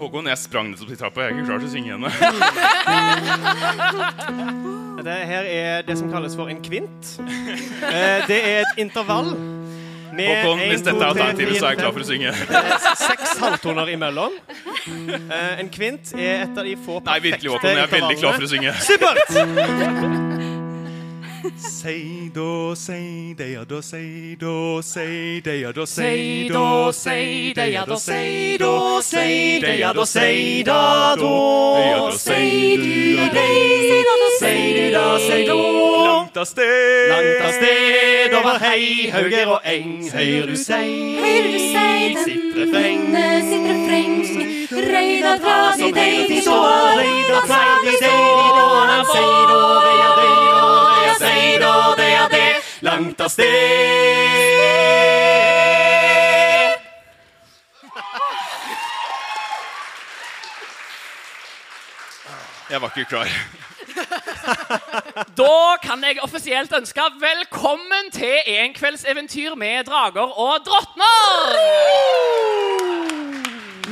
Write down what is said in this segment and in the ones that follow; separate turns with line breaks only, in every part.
Håkon, jeg sprang nettopp til trappa. Jeg er ikke klar til å synge ennå.
Dette her er det som kalles for en kvint. Eh, Det er et intervall med
Håkon,
en,
hvis
to,
dette er
tre,
alternativet,
fire,
så er jeg klar
fem,
for å synge.
Seks halvtoner imellom. Eh, En kvint er et av de få
Nei, virkelig, Håkon. Jeg er veldig klar for å synge.
Supert!
Say do, say they
ah,
are do, say do, say they are do,
Say do, say they are do, say do, say they are do, say da do. Say du da day, ah, say du da, say do.
Langt av sted.
Langt av sted over hei, hauger og eng, høyr du sei.
Høyr du sei, den
Sitt refreng.
sitt refreng. Røyda dra di dei di stå, røyda dra di dei di stå.
Langt av sted.
Jeg var ikke klar.
Da kan jeg offisielt ønske velkommen til En kvelds eventyr med drager og drottner!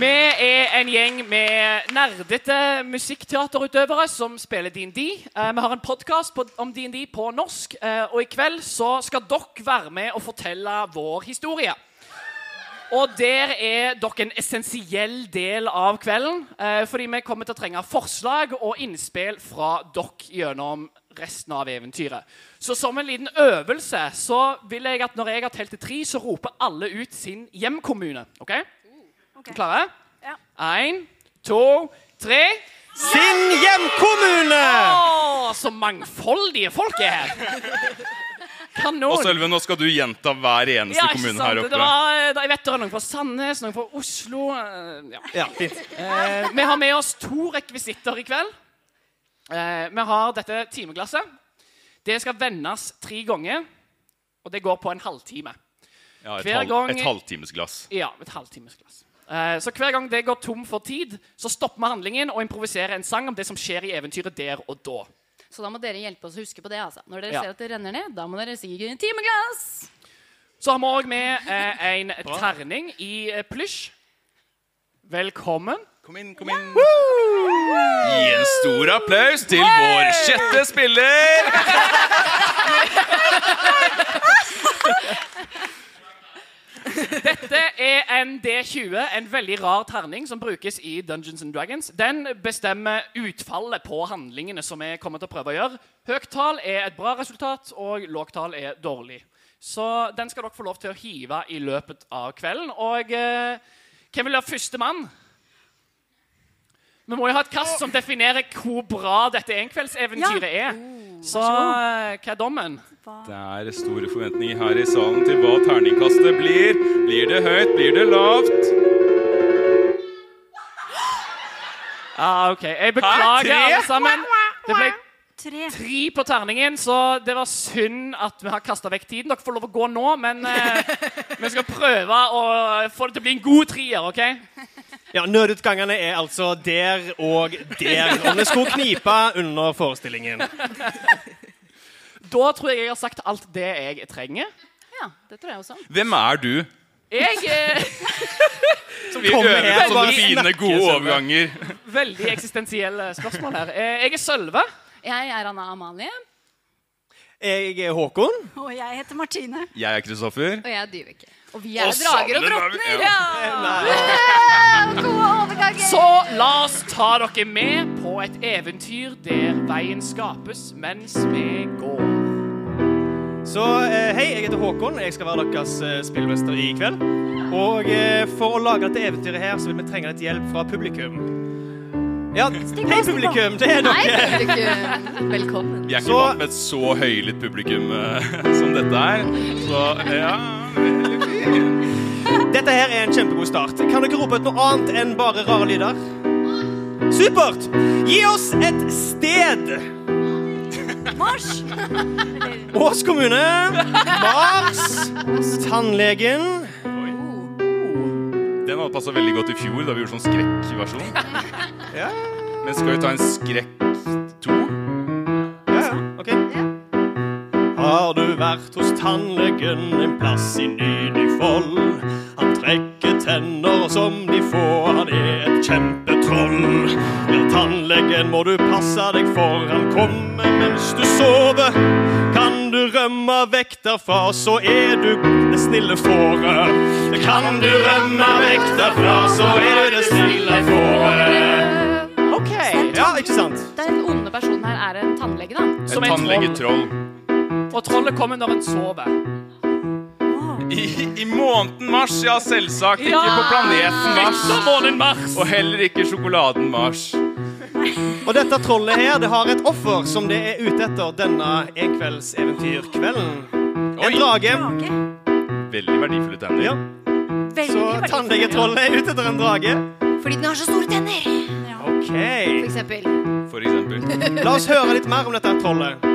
Vi er en gjeng med nerdete musikkteaterutøvere som spiller DND. Eh, Vi har en podkast om DND på norsk, eh, og i kveld så skal dere være med og fortelle vår historie. Og der er dere en essensiell del av kvelden. Eh, fordi vi kommer til å trenge forslag og innspill fra dere gjennom resten av eventyret. Så som en liten øvelse så vil jeg at når jeg har telt til tre, så roper alle ut sin hjemkommune. OK? Klare?
Ja.
Én, to, tre.
Sin hjemkommune!
Å, så mangfoldige folk er her! Kanon.
Og Sølve, nå skal du gjenta hver eneste
ikke
kommune
sant.
her
Det
oppe.
var, eh, jeg vet det er noen fra Sandnes, noen fra Oslo eh, ja.
Ja, fint.
Eh, Vi har med oss to rekvisitter i kveld. Eh, Vi har dette timeglasset. Det skal vendes tre ganger, og det går på en halvtime.
Ja, et,
Hver
halv,
gang-
et halvtimesglass.
Ja, et halvtimesglass. Eh, Så hver gang det går tom for tid, så stopper vi handlingen og improviserer en sang om det som skjer i eventyret der og da.
Så da må dere hjelpe oss å huske på det. altså. Når dere
Ja.
ser at det renner ned, da må dere sikkert gi en timeglass.
Så har vi òg med eh, en terning i eh, plysj. Velkommen.
Kom inn, kom inn. Gi en stor applaus til vår sjette spiller.
Dette er en D20, en veldig rar terning som brukes i Dungeons and Dragons. Den bestemmer utfallet på handlingene som vi kommer til å prøve å gjøre. Høyt tall er et bra resultat, og lågt tall er dårlig. Så den skal dere få lov til å hive i løpet av kvelden. Og eh, hvem vil være førstemann? Vi må jo ha et kast som definerer hvor bra dette enkveldseventyret er. Så eh, hva er dommen?
Det er store forventninger her i salen til hva terningkastet blir. Blir det høyt? Blir det lavt?
Ah, ok. Jeg beklager,
tre?
alle sammen. Det ble
Tre.
tre på terningen, så det var synd at vi har kasta vekk tiden. Dere får lov å gå nå, men eh, vi skal prøve å få det til å bli en god trier. ok?
Ja, Nødutgangene er altså der og der. Om det skulle knipe under forestillingen.
Da tror jeg jeg har sagt alt det jeg trenger.
Ja, det tror jeg også.
Hvem er du?
Jeg eh, er
Vi
kommer
øver
her
på
og
sånne
bare
fine,
snakker,
gode
Sølve.
overganger.
Veldig eksistensielle spørsmål her. Eh, Jeg er Sølve.
Jeg er Anna Amalie.
Jeg er Håkon.
Og jeg heter Martine.
Jeg er Kristoffer.
Og jeg er Dyveke. Og vi er
Og
drager og
sammen er vi-
drottner!
ja.
Så la oss ta dere med på et eventyr der veien skapes mens vi går.
Så eh, hei, jeg heter Håkon. Jeg skal være deres eh, spillmester i kveld. Og eh, for å lage dette eventyret her, så vil vi trenge litt hjelp fra publikum. Ja, hei, publikum. Det er
Hei,
dere.
publikum. Velkommen.
Vi er ikke
Så-
vant med et så høylytt publikum eh, som dette er. Så eh, ja veldig fint.
Dette her er en kjempegod start. Kan dere rope ut noe annet enn bare rare lyder? Supert! Gi oss et sted.
Mars!
Ås kommune. Mars. Tannlegen.
Den hadde passa veldig godt i fjor, da vi gjorde sånn skrekkversjon.
Ja,
Men skal vi ta en skrekk to?
ja, ja. OK. Har du vært hos tannlegen, en plass i nylig fold? Han trekker tenner som de få, han er et kjempetroll. Ja, tannlegen må du passe deg for, han kommer mens du sover. Kan du rømme vekk derfra, så er du det snille fåret. Kan du rømme vekk derfra, så er du det snille fåret.
OK.
Ja, ikke sant?
Den onde personen her er en tannlege, da.
Et
Som en troll.
tannlegetroll.
Og trollet kommer når en sover.
I, I måneden mars, ja selvsagt. Ikke
Ja!
på planeten Mars.
Etter måneden mars.
Og heller ikke sjokoladen Mars.
Og dette trollet her, det har et offer som det er ute etter denne enkveldseventyrkvelden. En
Oi.
drage.
Veldig verdifulle tenner.
Ja. Så tannlegetrollet er ute etter en drage.
Fordi den har så store tenner,
OK.
for eksempel.
For eksempel.
La oss høre litt mer om dette trollet.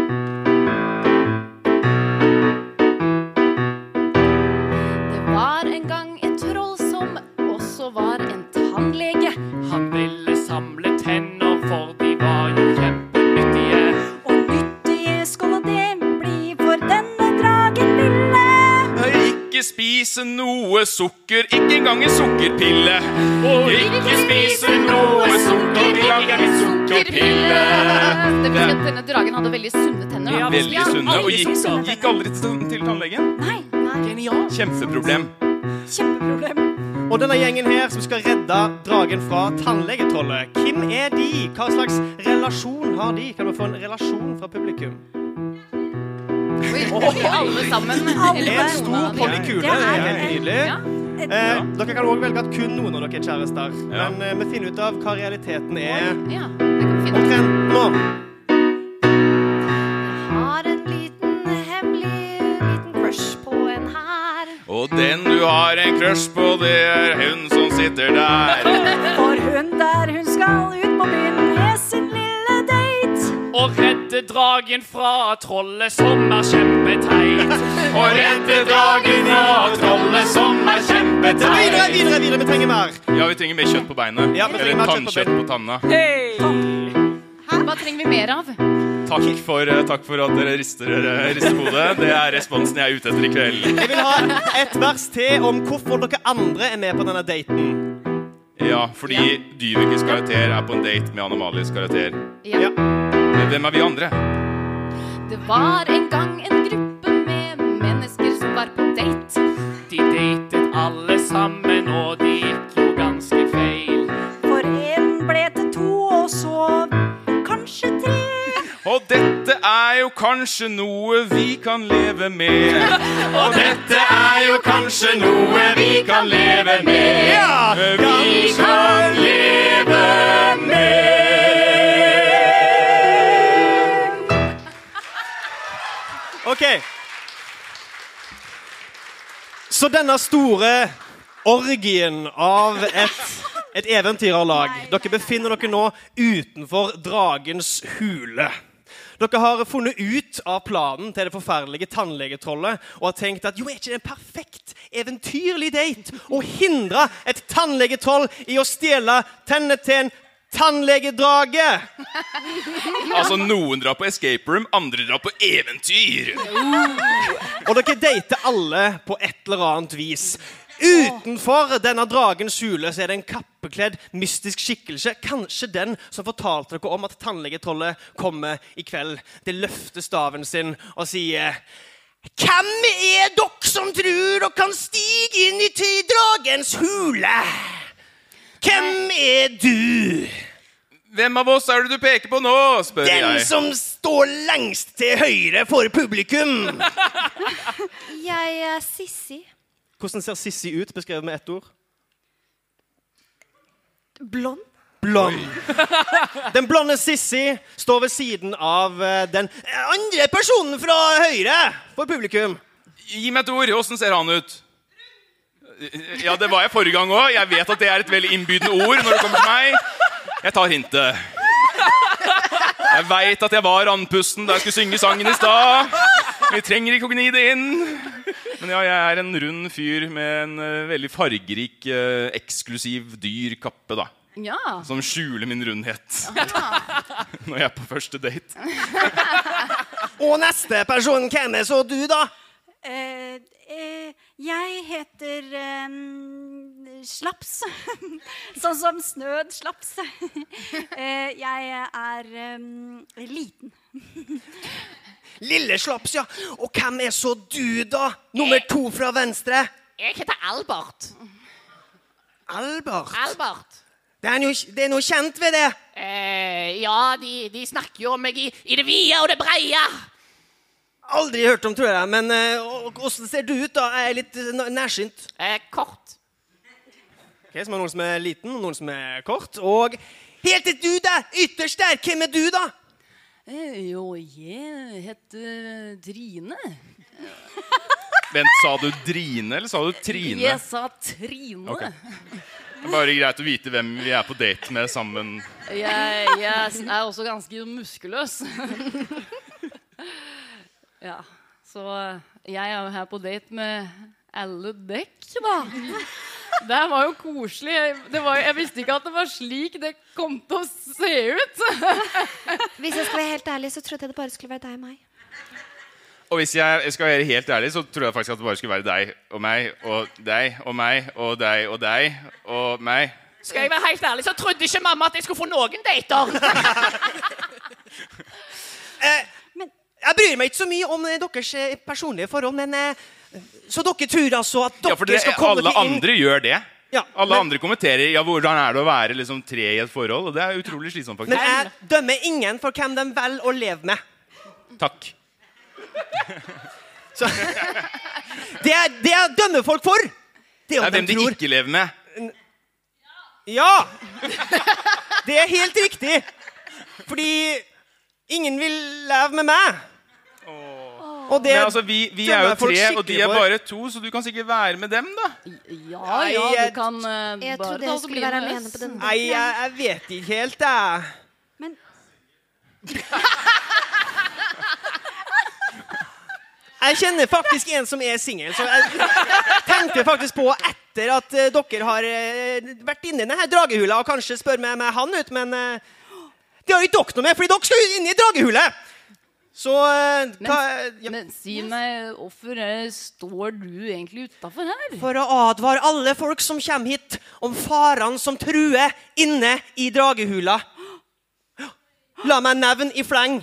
Det var en gang et troll som også var en tannlege.
Han ville samle tenner, for de var jo kjempenyttige.
Og nyttige skåla det bli, for denne dragen ville.
Ikke spise noe sukker, ikke engang en sukkerpille. Og ikke spise noe sukker, ikke engang en sukkerpille.
Det betyr at denne dragen hadde veldig sunne tenner.
Ja,
Da.
Veldig sunne. Og gikk,
sunne tenner.
gikk aldri til til tannlegen.
Nei, nei,
Genialt.
Kjempeproblem.
kjempeproblem.
Og denne gjengen her som skal redde dragen fra tannlegetrollet, hvem er de? Hva slags relasjon har de? Kan vi få en relasjon fra publikum?
Oi, alle sammen.
En
eller noen
stor
av de.
pollikule.
Det er
helt
veldig-
nydelig.
Ja.
Eh, dere kan òg velge at kun noen av dere er kjærester.
Ja.
Men eh, vi finner ut av hva realiteten er
Ja, det kan vi finne.
omtrent nå.
Har en liten hemmelig liten crush på en her.
Og den du har en crush på, det er hun som sitter der.
For hun der, hun skal ut på byen med sin lille date.
Og redde dragen fra trollet som er kjempeteit.
Og redde dragen av trollet som er
Videre,
kjempeteit.
videre, videre, vi trenger mer.
Ja, vi trenger mer kjøtt på beinet.
Ja, vi trenger
Eller
mer kjøtt på
tannkjøtt på tanna.
Hva trenger vi mer av?
Takk for, eh, takk for at dere rister, eh, rister hodet. Det er responsen jeg er ute etter i kveld.
Jeg vil ha et vers til om hvorfor dere andre er med på denne daten.
Ja, fordi Dyviks karakter er på en date med Anomalies karakter.
Ja.
Ja.
Men hvem er vi andre?
Det var en gang en gruppe med mennesker som var på date.
De datet alle sammen, og de gikk jo ganske feil.
For en ble til to, og så kanskje tre.
Og dette er jo kanskje noe vi kan leve med. Og dette er jo kanskje noe vi kan leve med.
Ja!
Vi kan leve med.
OK. Så denne store orgien av et, et eventyrerlag Dere befinner dere nå utenfor dragens hule. Dere har funnet ut av planen til det forferdelige tannlegetrollet og har tenkt at jo, er ikke det en perfekt eventyrlig date å hindre et tannlegetroll i å stjele tennene til en tannlegedrage?
Altså, noen drar på escape room, andre drar på eventyr.
Og dere dater alle på et eller annet vis. Utenfor denne dragens hule så er det en kappekledd mystisk skikkelse. Kanskje den som fortalte dere om at tannlegetrollet kommer i kveld. Det løfter staven sin og sier Hvem er dere som tror dere kan stige inn i ti- dragens hule? Hvem er du?
Hvem av oss er det du peker på nå? spør
Den
jeg.
som står lengst til høyre for publikum.
Jeg er Sissi.
Hvordan ser Sissi ut, beskrevet med ett ord?
Blond.
Blond. Den blonde Sissi står ved siden av eh, den andre personen fra høyre for publikum.
Gi meg et ord. Åssen ser han ut? Ja, det var jeg forrige gang òg. Jeg vet at det er et veldig innbydende ord når det kommer til meg. Jeg tar hintet. Jeg veit at jeg var andpusten da jeg skulle synge sangen i stad. Vi trenger ikke å gni det inn. Men ja, jeg er en rund fyr med en eh, veldig fargerik, eh, eksklusiv, dyr kappe, da.
Ja.
Som skjuler min rundhet når jeg er på første date.
Og neste person, hvem er så du, da?
Eh, eh, jeg heter eh, Slaps. sånn som Snød Slaps. eh, jeg er eh, liten.
Lille slaps, ja. Og hvem er så du, da? Nummer to fra venstre.
Jeg heter Albert.
Albert.
Albert.
Det er, noe, det er noe kjent ved det.
Eh, ja, de, de snakker jo om meg i, i det vide og det breie.
Aldri hørt om, tror jeg. Men eh, og- og åssen ser du ut, da? Jeg er litt eh, n- nærsynt.
Eh, kort.
Ok, Så er noen som er liten, og noen som er kort. Og helt til du der, ytterst der, hvem er du, da?
Eh, Jo, jeg heter Trine.
Vent, sa du Drine, eller sa du Trine?
Jeg sa Trine.
Ok. Det er bare greit å vite hvem vi er på date med sammen.
Jeg, jeg er også ganske muskuløs. ja, så eh, jeg er jo her på date med alle dekk, da. Det her var jo koselig. Det var, jo- jeg visste ikke at det var slik det kom til å se ut.
Hvis jeg skal være helt ærlig, så trodde jeg det bare skulle være deg og meg.
Og hvis jeg, jeg skal være helt ærlig, så tror jeg faktisk at det bare skulle være deg og meg og deg og meg og deg og deg og meg.
Skal jeg være helt ærlig, så trodde ikke mamma at jeg skulle få noen dater.
Eh, Jeg bryr meg ikke så mye om eh, deres eh, personlige forhold, men eh, Så dere tror altså at dere
Ja, for det,
skal komme
alle
til inn-
andre gjør det.
Ja,
Alle
men-
andre kommenterer ja, hvordan er det å være liksom, tre i et forhold. Og det er utrolig slitsomt,
Men
faktisk.
jeg dømmer ingen for hvem de velger å leve med.
Takk.
Det, er, det jeg dømmer folk for, det er
Det
om
er hvem
de
de
tror
ikke lever med.
Ja! Det er helt riktig. Fordi ingen vil leve med meg. Og det
Men altså, vi, vi er
dømmer
jo
folk
tre, og de
skikkelig
er
for.
bare to, så du kan sikkert være med dem, da.
Ja, ja, du kan eh,
Jeg
bare
trodde
ta
jeg
og bli
skulle være
med
alene
oss.
på denne
Nei, jeg, jeg vet ikke helt, jeg.
Men
Jeg kjenner faktisk en som er singel, så jeg tenkte faktisk på etter at eh, dere har eh, vært inne i denne her dragehula og kanskje spør meg med han ut, men eh, det har jo ikke dere noe med, fordi dere skal jo inn i dragehulet! Så eh, hva ja,
Men si meg, hvorfor eh, står du egentlig utafor her?
For å advare alle folk som kommer hit, om farene som truer inne i dragehula. La meg nevne i fleng.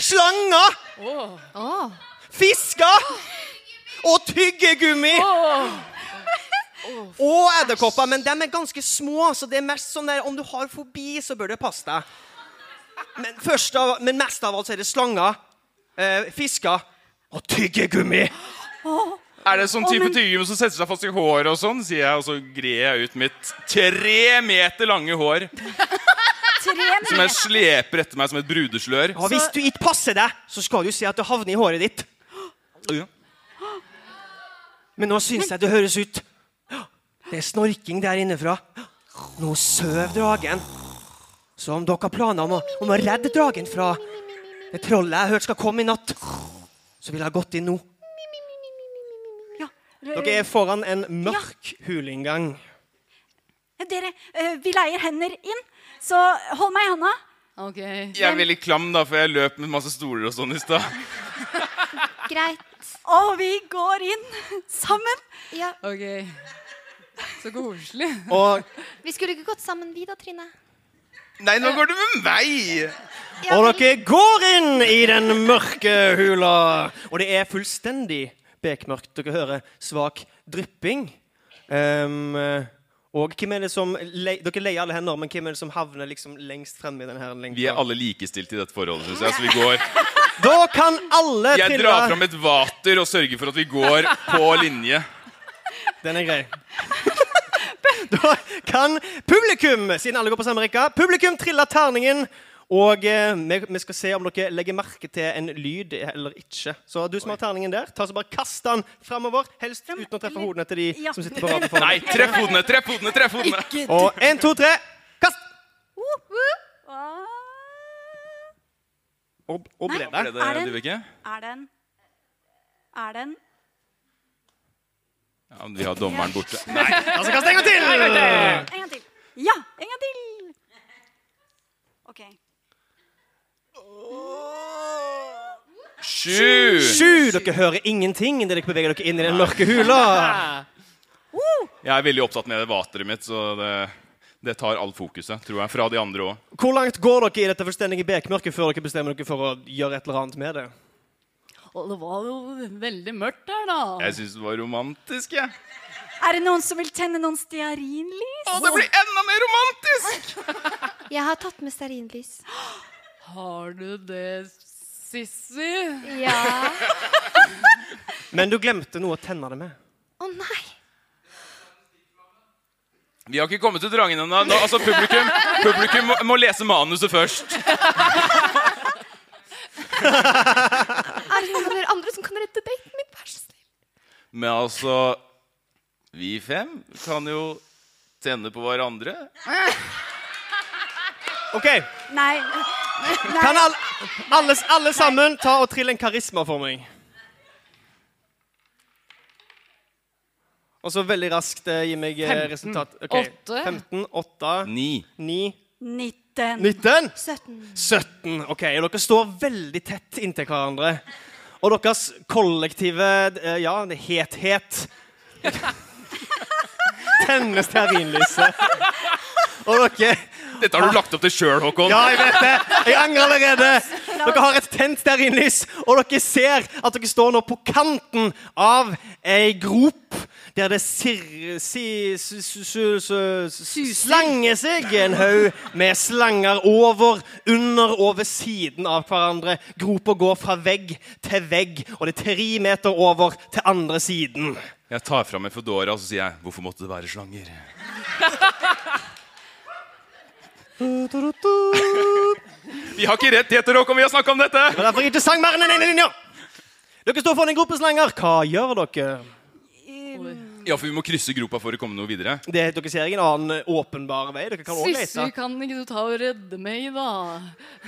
Slanger! Fisker! Og tyggegummi! Og edderkopper, men de er ganske små, så det er mest sånn der om du har fobi, så bør du passe deg. Men, først av, men mest av alt så er det slanger, eh, fisker og tyggegummi.
Er det sånn type tyggegummi som setter seg fast i håret og sånn? Sier jeg, og så grer jeg ut mitt tre meter lange hår
tre
som jeg
minutter
sleper etter meg som et brudeslør.
Og hvis du ikke passer deg, så skal du si at det havner i håret ditt.
Ja.
Men nå syns jeg det høres ut. Det er snorking der innefra. Nå søv dragen. Så om dere har planer om å, om å redde dragen fra det trollet jeg har hørt skal komme i natt, så ville jeg gått inn nå. Dere er foran en mørk huleinngang.
Dere, eh, vi leier hender inn, så hold meg i handa.
Ok.
Jeg er veldig klam, da, for jeg løp med masse stoler og sånn i stad.
Greit.
Og vi går inn sammen.
Ja.
ok. Så koselig.
Og,
Vi skulle ikke gått sammen, vi da, Trine.
Nei, nå går du med meg!
Ja,
og
vel.
dere går inn i den mørke hula. Og det er fullstendig bekmørkt. Dere hører svak drypping. Ehm, og hvem er det som le Dere leier alle hender, men hvem er det som havner liksom lengst fremme i denne her lenka?
Vi er alle likestilte i dette forholdet, syns jeg. Så vi går.
Da kan alle
Jeg
trille-
drar fram et vater og sørger for at vi går på linje.
Den er grei. Da kan publikum, siden alle går på samme rekka, publikum trille terningen Og eh, vi, vi skal se om dere legger merke til en lyd eller ikke. Så du som har terningen der, ta så bare kast den framover. Helst
Fram-
uten å treffe
eller-
hodene til de
Ja.
som sitter på rad foran.
Nei, treff hodene, treff hodene! treff hodene
Og én, to, tre, kast!
Ah,
Og, og ble
Er
der.
det det,
Er det en-
Dyvike?
Er det en Er det en
Ja, men vi har dommeren borte. Nei,
Altså, kast en gang til!
En gang til. Ja, en gang til. OK.
sju!
Sju! Dere hører ingenting idet dere beveger dere inn i den mørke hula.
Jeg er veldig opptatt med det vateret mitt, så det, det tar all fokuset, tror jeg. Fra de andre òg.
Hvor langt går dere i dette fullstendige bekmørket før dere bestemmer dere for å gjøre et eller annet med det?
Og det var jo veldig mørkt her, da.
Jeg syns det var romantisk, jeg. Ja.
Er det noen som vil tenne noen stearinlys?
Å, det blir enda mer romantisk!
Jeg har tatt med stearinlys.
Har du det, Sissy?
Ja.
Men du glemte noe å tenne det med.
Å nei!
Vi har ikke kommet til Drangen ennå. Da- Altså, publikum, publikum må, må lese manuset først.
Er det noen av dere andre som kan redde daten min? Vær så snill.
Men altså Vi fem kan jo tenne på hverandre.
OK.
Nei.
Kan alle, alle, alle sammen ta og trille en karisma for meg? Og så veldig raskt eh, gi meg eh, resultat. Ok,
Åtte.
15, 8,
Ni.
9,
19.
19.
17.
17. Ok, og dere står veldig tett inntil hverandre. Og deres kollektive eh, Ja, det er hethet Tennes stearinlyset. Og dere
Dette har du lagt opp til sjøl, Håkon.
Ja, jeg vet det! Jeg angrer allerede. Dere har et tent stearinlys, og dere ser at dere står nå på kanten av ei grop der det sir... Si, su, su, su, su, slanger seg en haug med slanger over, under og ved siden av hverandre. Gropa går fra vegg til vegg, og det er tre meter over til andre siden.
Jeg tar fram en Foodora og så sier jeg, 'Hvorfor måtte det være slanger?' Vi har ikke rettigheter, Håkon. Vi har snakka om dette.
Det var derfor jeg ikke sang mer enn den ene linja. Dere står foran en gruppe slanger. Hva gjør dere?
Ja, for vi må krysse gropa for å komme noe videre.
Det, dere ser ingen annen åpenbar vei. Dere kan også lese.
Sissy, kan ikke du ta og redde meg, da?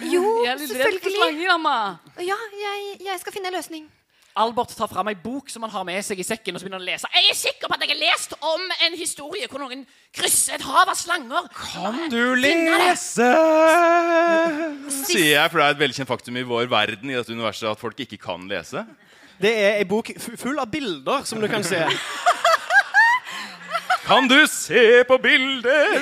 Jo,
Jeg er litt redd for
selvfølgelig.
slanger, amma.
Ja, jeg, jeg skal finne en løsning.
Albert tar fram ei bok som han har med seg i sekken, og så begynner han å lese.
Jeg er sikker på at jeg har lest om en historie hvor noen krysser et hav av slanger.
Kan du lese? Sier jeg, for det er et velkjent faktum i vår verden i dette universet at folk ikke kan lese.
Det er ei bok fu- full av bilder, som du kan se.
Kan du se på bilder?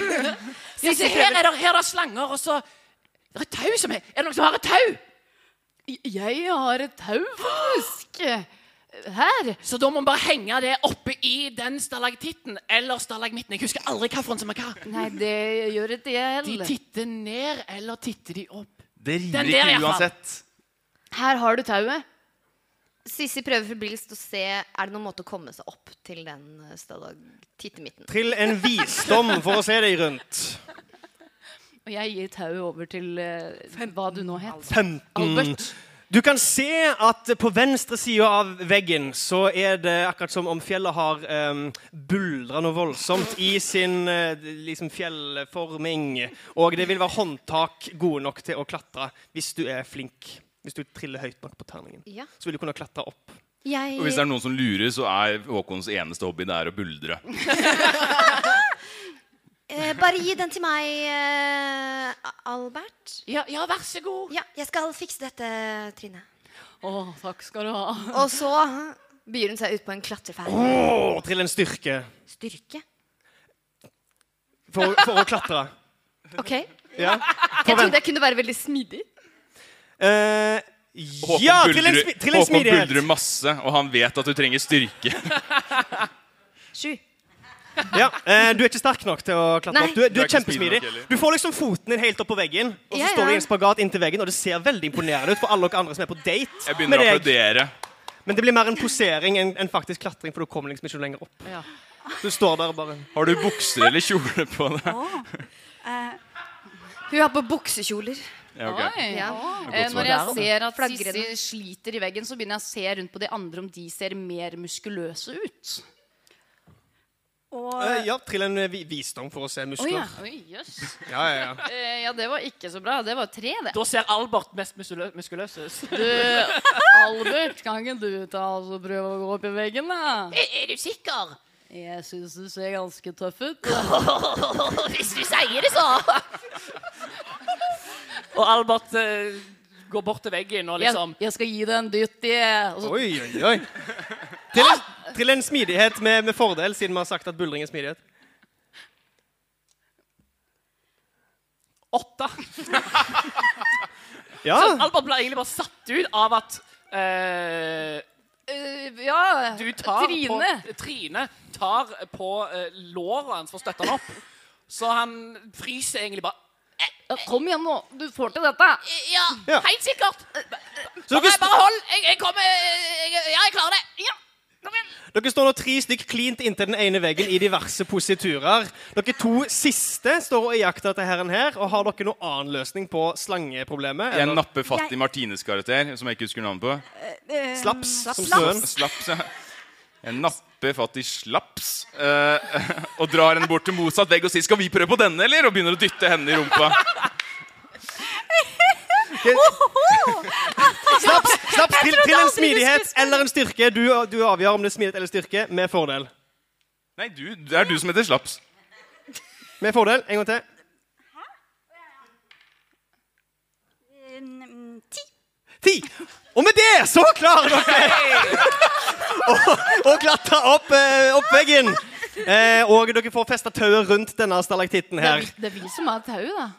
Sissy, her er det, her er det slanger, og så Det er et tau som er Er det noen som har et tau?
Jeg har et tau, faktisk. Her.
Så da må vi bare henge det oppe i den stalaktitten eller stalagmitten. Jeg husker aldri hvilken som er hva.
Nei, det gjør ikke
De
jeg heller.
titter ned, eller titter de opp?
Det
Den
rimer
der, i
ikke
hvert fall.
uansett.
Her har du tauet.
Sissy prøver forbilligst å se Er det noen måte å komme seg opp til den eh, stadag tittemitten.
Trill en visdom for å se deg rundt.
Og jeg gir tauet over til eh, hva du nå
altså.
het.
15.
Albert.
Du kan se at på venstre side av veggen så er det akkurat som om fjellet har um, buldra noe voldsomt i sin eh, liksom fjellforming. Og det vil være håndtak gode nok til å klatre hvis du er flink. Hvis du triller høyt nok på terningen.
Ja.
Så vil du kunne klatre opp.
Og hvis det
Jeg,
er noen som lurer, så er Håkons eneste hobby det er å buldre.
eh, bare gi den til meg, eh, A- Albert.
Ja, ja, vær så god.
Ja, jeg skal fikse dette, Trine.
Mm.
Å, takk skal du ha.
Og så byr hun seg ut på en klatreferd.
Oh, trill en styrke
Styrke.
for, for å klatre.
OK. Jeg
Ja.
trodde jeg kunne være veldig smidig.
Eh,
Håkon,
ja, til en,
buldrer,
smi til en
Håkon
smidighet.
buldrer masse, og han vet at du trenger styrke.
Sju.
Ja, eh, du er ikke sterk nok til å klatre
Nei.
opp. Du, er- du
Du er
er
ikke smidig
kjempesmidig.
nok heller.
Du får liksom foten din helt opp på veggen, og så
Ja,
står du
ja.
i en spagat inntil veggen, og det ser veldig imponerende ut for alle dere andre som er på date
Jeg begynner å
med deg.
applaudere.
Men det blir mer en posering enn enn faktisk klatring, for du kommer liksom ikke lenger opp.
Ja.
Du står der og bare
Har du bukser eller kjole på deg?
Hun har på buksekjoler.
Ja, ok.
Oi.
Ja.
Godt
Eh,
svar.
Når jeg ser at
Flagrer
Sissi sliter i veggen, så begynner jeg å se rundt på de andre om de ser mer muskuløse ut.
Og
Eh, ja, trill en eh, vi- visdom for å se
Oi, ja.
muskler.
Oi, jøss.
Ja, ja, ja.
Eh, ja, det var ikke så bra. Det var tre, det.
Da ser Albert mest muskulø- muskuløs ut.
Du, Albert, kan ikke du ta oss og prøve å gå opp i veggen, da?
Er du sikker?
Jeg syns du ser ganske tøff ut.
Hvis du sier det, så.
Og Albert eh, går bort til veggen og
Jeg,
liksom
jeg skal gi deg en dytt i og så,
Oi, oi, oi. Trill en, trill en smidighet med, med fordel, siden vi har sagt at buldring er smidighet.
Åtte.
Ja,
Så Albert ble egentlig bare satt ut av at eh,
Eh, Ja,
du tar
Trine.
På, Trine tar på eh, låret hans for å støtte han opp. Så han fryser egentlig bare.
Ja, kom igjen nå. Du får til dette.
Ja,
Ja.
helt sikkert.
så dere,
Bare hold. Jeg, jeg kommer.
Eh,
Jeg, ja, jeg klarer det. Ja.
Dere står nå tre stykk klint inntil den ene veggen i diverse positurer. Dere to siste står og jakter dette herren her, og har dere noen annen løsning på slangeproblemet?
Jeg
Eller
napper fatt i Martines karakter, som jeg ikke husker navnet på.
eh,
slaps, som
slaps.
snøen?
Slaps, ja. Jeg napper fatt i slaps eh, og drar henne bort til motsatt vegg og sier 'Skal vi prøve på denne', eller? Og begynner å dytte henne i rumpa.
Slaps, slaps til, til en
aldri du
smidighet eller en styrke. Du, du avgjør om det er smidighet eller styrke, med fordel.
Nei, du, det er du som heter slaps.
Med fordel, en gang til.
Mm, Ti.
Ti. Og med det så klarer dere å, å klatre opp, eh, opp veggen. Eh, og dere får festa tauet rundt denne stalaktitten
Det er,
her.
vi- det er vi som har tauet, da.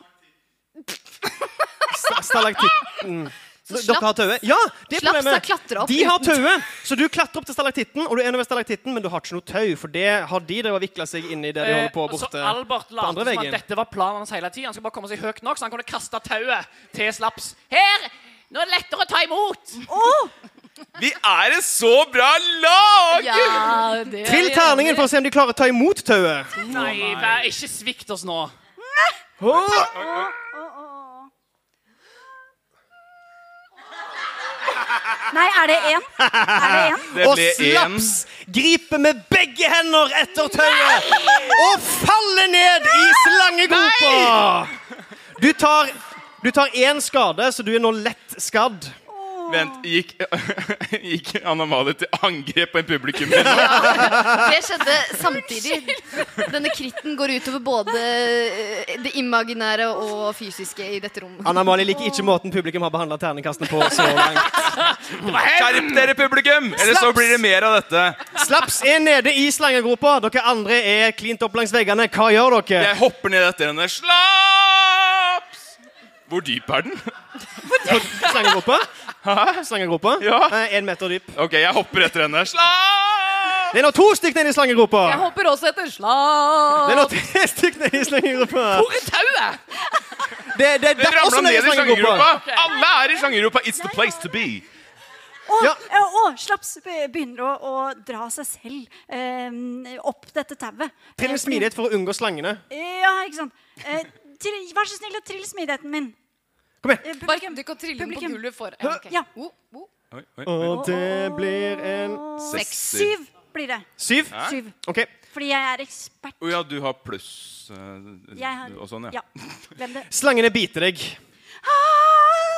Sta- Stalaktitten. Dere har tauet? Ja, det er
slaps har
problemet.
klatret opp
De har tauet, så du klatrer opp til stalaktitten, og du er nå ved stalaktitten, men du har ikke noe tau, for det har de drevet og vikla seg inn i det de holder på
Eh, så
borte.
Albert
på andre
later som at
veggen.
dette var planen hans hele tiden. Han skulle bare komme seg høyt nok, så han kunne kaste tauet til slaps.
Her. Nå er det lettere å ta imot.
Vi er et så bra lag!
Ja, det er
Trill terningen for å se om de klarer å ta imot tauet.
Nei, vær ikke svikt oss nå.
Åh,
Å, å, å. Nei, er det én? Er det én?
Det
Og
ble én.
slaps griper med begge hender etter tauet og faller ned i slangegropa. Du tar du tar én skade, så du er nå lett skadd.
Vent, gikk, gikk Anna Malie til angrep på en publikummer nå?
Det skjedde samtidig. Denne kritten går utover både eh, det imaginære og fysiske i dette rommet.
Anna Mali liker ikke måten publikum har behandla terningkastene på så langt.
Skjerp dere, publikum! Eller så
Slaps!
blir det mer av dette.
Slaps er nede i slangegropa. Dere andre er klint opp langs veggene. Hva gjør dere?
Jeg hopper ned etter henne. Slaps! Hvor dyp er den?
Slangegropa? Slangegropa?
Ja.
Eh, En meter dyp.
OK, jeg hopper etter henne. Slaps!
Det er nå to stykk nede i slangegropa.
Jeg hopper også etter slag.
Det er nå tre stykk nede i slangegropa.
Hvor er tauet?
Det, det, det
Det
er også
ramla
nede i slangegropa.
Alle er i slangegropa. It's the place to be.
Og,
Ja.
eh, og slaps be- begynner å, å dra seg selv eh, opp dette tauet.
Trill
Eh,
en smidighet for å unngå slangene.
Ja, ikke sant. Eh, trill, vær så snill å trille smidigheten min.
Kom igjen.
Eh,
Bare
publikum.
du kan trille den på
Publikum.
gulvet for ja, ok.
Ja.
Oh, oh.
Oi, oi.
Og det blir en
Sekser.
Syv blir det.
syv.
Syv.
OK.
Fordi jeg er ekspert.
Å ja, du har pluss eh,
Jeg har,
og sånn, ja.
ja. Glem det.
Slangene biter deg.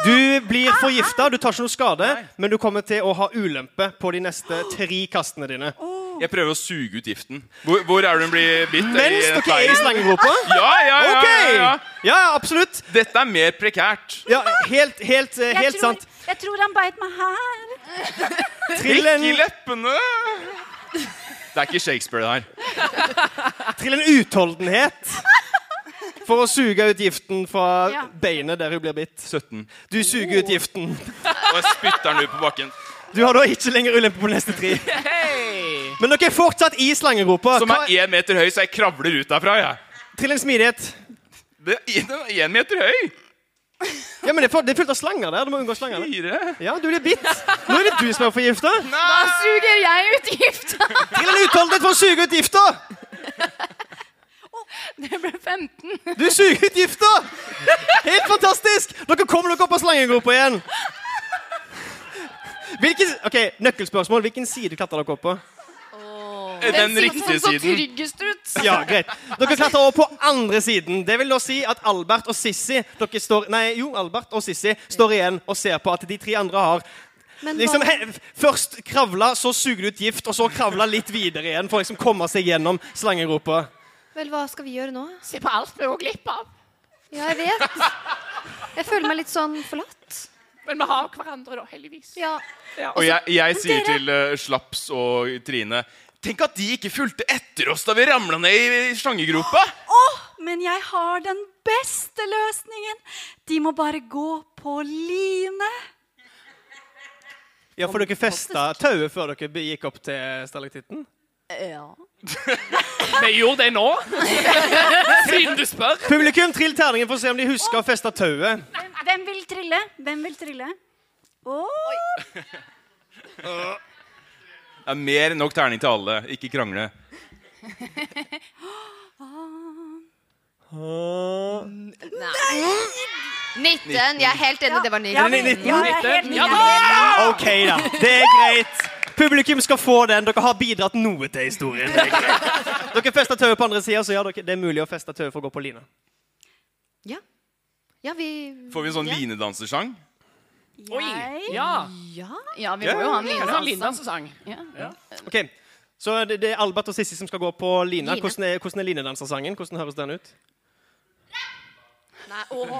Du blir forgifta. Du tar ikke noe skade, men du kommer til å ha ulempe på de neste tre kastene dine.
Jeg prøver å suge ut giften. Hvor, hvor er det hun blir bitt? I
Mens dere er i
teigen?
slangegropa?
Ja, ja, ja,
OK!
ja, ja.
Ja, ja, absolutt.
Dette er mer prekært.
Ja, helt, helt, eh,
Jeg
helt
tror,
sant.
jeg tror han beit meg her.
Trill
Prikk
en,
i leppene! Det er ikke Shakespeare, det her.
trill en utholdenhet for å suge ut giften fra
Ja.
beinet der hun blir bitt.
17.
Du suger ut giften.
Og jeg spytter den ut på bakken.
Du har da ikke lenger ulempe på neste tre.
Hei!
Men dere er fortsatt i slangegropa.
Som
Hva-
er én meter høy, så jeg kravler ut derfra, jeg.
Trill en smidighet.
Det den er én meter høy!
Ja, men det er, for, det er fullt av slanger der. Du må unngå slangene.
Fire.
Ja, du blir bitt. Nå er det du som er forgifta.
Da
Ah!
suger jeg ut gifta.
Trill en utholdenhet for å suge ut gifta.
Det ble 15.
Du suger ut gifta. Helt fantastisk! Dere kommer dere opp av slangegropa igjen. Hvilken, ok, Nøkkelspørsmål. Hvilken side klatra dere opp på?
Den riktige
sånn
så
siden.
tryggest ut.
Ja, greit. Dere klatrer over på andre siden. Det vil da si at Albert og Sissy dere står, Nei, jo, Albert og Sissy står igjen og ser på at de tre andre har
Men
liksom,
hva-
he, Først kravla, så suger de ut gift, og så kravla litt videre igjen for å liksom komme seg gjennom slangegropa.
Vel, hva skal vi gjøre nå?
Se på alt vi går glipp av.
Ja, jeg vet. Jeg føler meg litt sånn forlatt.
Men vi har hverandre, da, heldigvis.
Ja.
Og jeg, jeg sier til eh, Slaps og Trine Tenk at de ikke fulgte etter oss da vi ramla ned i i slangegropa!
Men jeg har den beste løsningen. De må bare gå på line.
Ja, for dere festa tauet før dere be- gikk opp til stalaktitten?
Vi gjorde det nå. Siden du spør.
Publikum, trill terningen for å se om de husker å feste tauet.
Hvem vil trille? Hvem vil trille? Åh,
Det er mer enn nok terning til alle. Ikke krangle.
Nitten. Jeg er helt enig, det var
ja, men,
nitten.
ja, jeg er helt
Ja,
enig.
da!
OK, da. Det er greit. Publikum skal få den. Dere har bidratt noe til historien. Det er greit. Dere festa tauet på andre sida, så ja, dere, det er mulig å feste tauet for å gå på line.
Ja. ja, vi
Får vi en sånn
Ja.
linedansersang?
Oi.
Jeg
Ja.
Ja, ja vi må jo ha en
Kan du ha en
linedans.
lindansesang?
Ok, Så det, det er Albert og Sissy som skal gå på line.
Line.
Hvordan er, hvordan er linedansersangen? Hvordan høres den ut?
Nei, å, nei.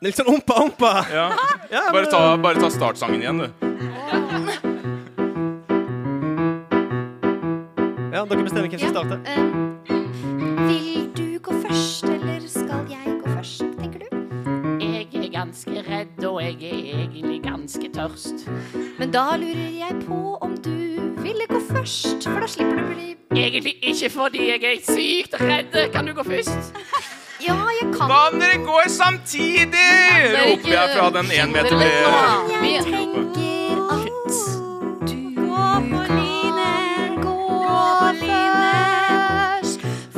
Det er litt sånn ompa-ompa.
Ja.
Ja,
Bare ta, bare ta startsangen igjen, du.
ja, dere bestemmer hvem som starter.
eh, vil du gå først, eller skal jeg gå først, tenker du?
Jeg er ganske redd, og jeg er egentlig ganske tørst.
Men da lurer jeg på om du ville gå først, for da slipper du å bli
Egentlig ikke fordi jeg er sykt redd. Kan du gå først?
Ja, jeg kan
Hva om dere går samtidig? roper jeg fra den én meter ved
tenker at du gå på line.
gå først,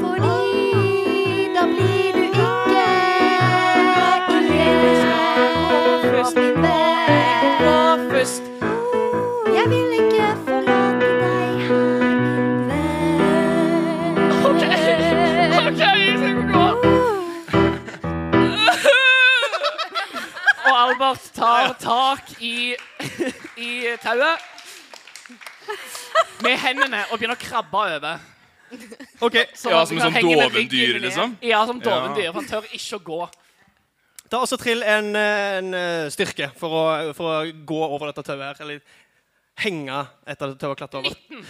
fordi da blir du ikke
Først,
igjen.
først.
Jeg vil ikke forlate deg her, venn.
OK. OK, jeg skal gå. Og Albert tar tak i, i tauet med hendene og begynner å krabbe over.
Ok,
Ja,
at
som
du kan
en sånn
henge med ryggen
dovendyr,
ned.
liksom?
Ja, som dovendyr. For han tør ikke å gå.
Ta også trill en, eh, en eh, styrke for å, for å gå over dette tauet her. Eller henge etter det tauet og klatre over.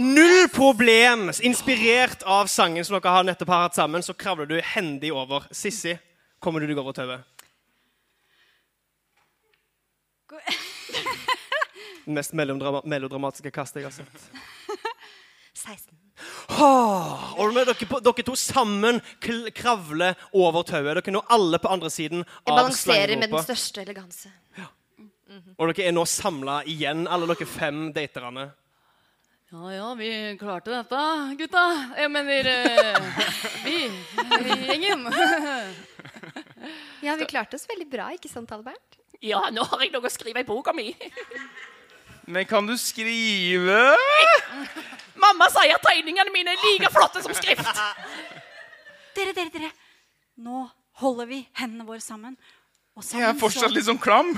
Null problem! Inspirert av sangen som dere har nettopp har hatt sammen, så kravler du hendig over. Sissy, kommer du deg over tauet?
Gå-
Det mest melomdrama melodramatiske kastet jeg har sett.
16.
Og når dere, på- dere to sammen kl- kravler over tauet. Dere når alle på andre siden
Jeg
av
balanserer med
slangegropa.
den største eleganse.
Og dere er nå samla igjen, alle dere fem daterne.
Ja ja, vi klarte dette, gutta. Jeg mener eh, vi, vi gjengen.
Ja, vi klarte oss veldig bra, ikke sant, Albert?
Ja, nå har jeg noe å skrive i boka mi.
Men kan du skrive?
Mamma sier at tegningene mine er like flotte som skrift.
Dere, dere, dere. Nå holder vi hendene våre sammen. Og
Jeg er
sammen
fortsatt
så-
litt sånn klam.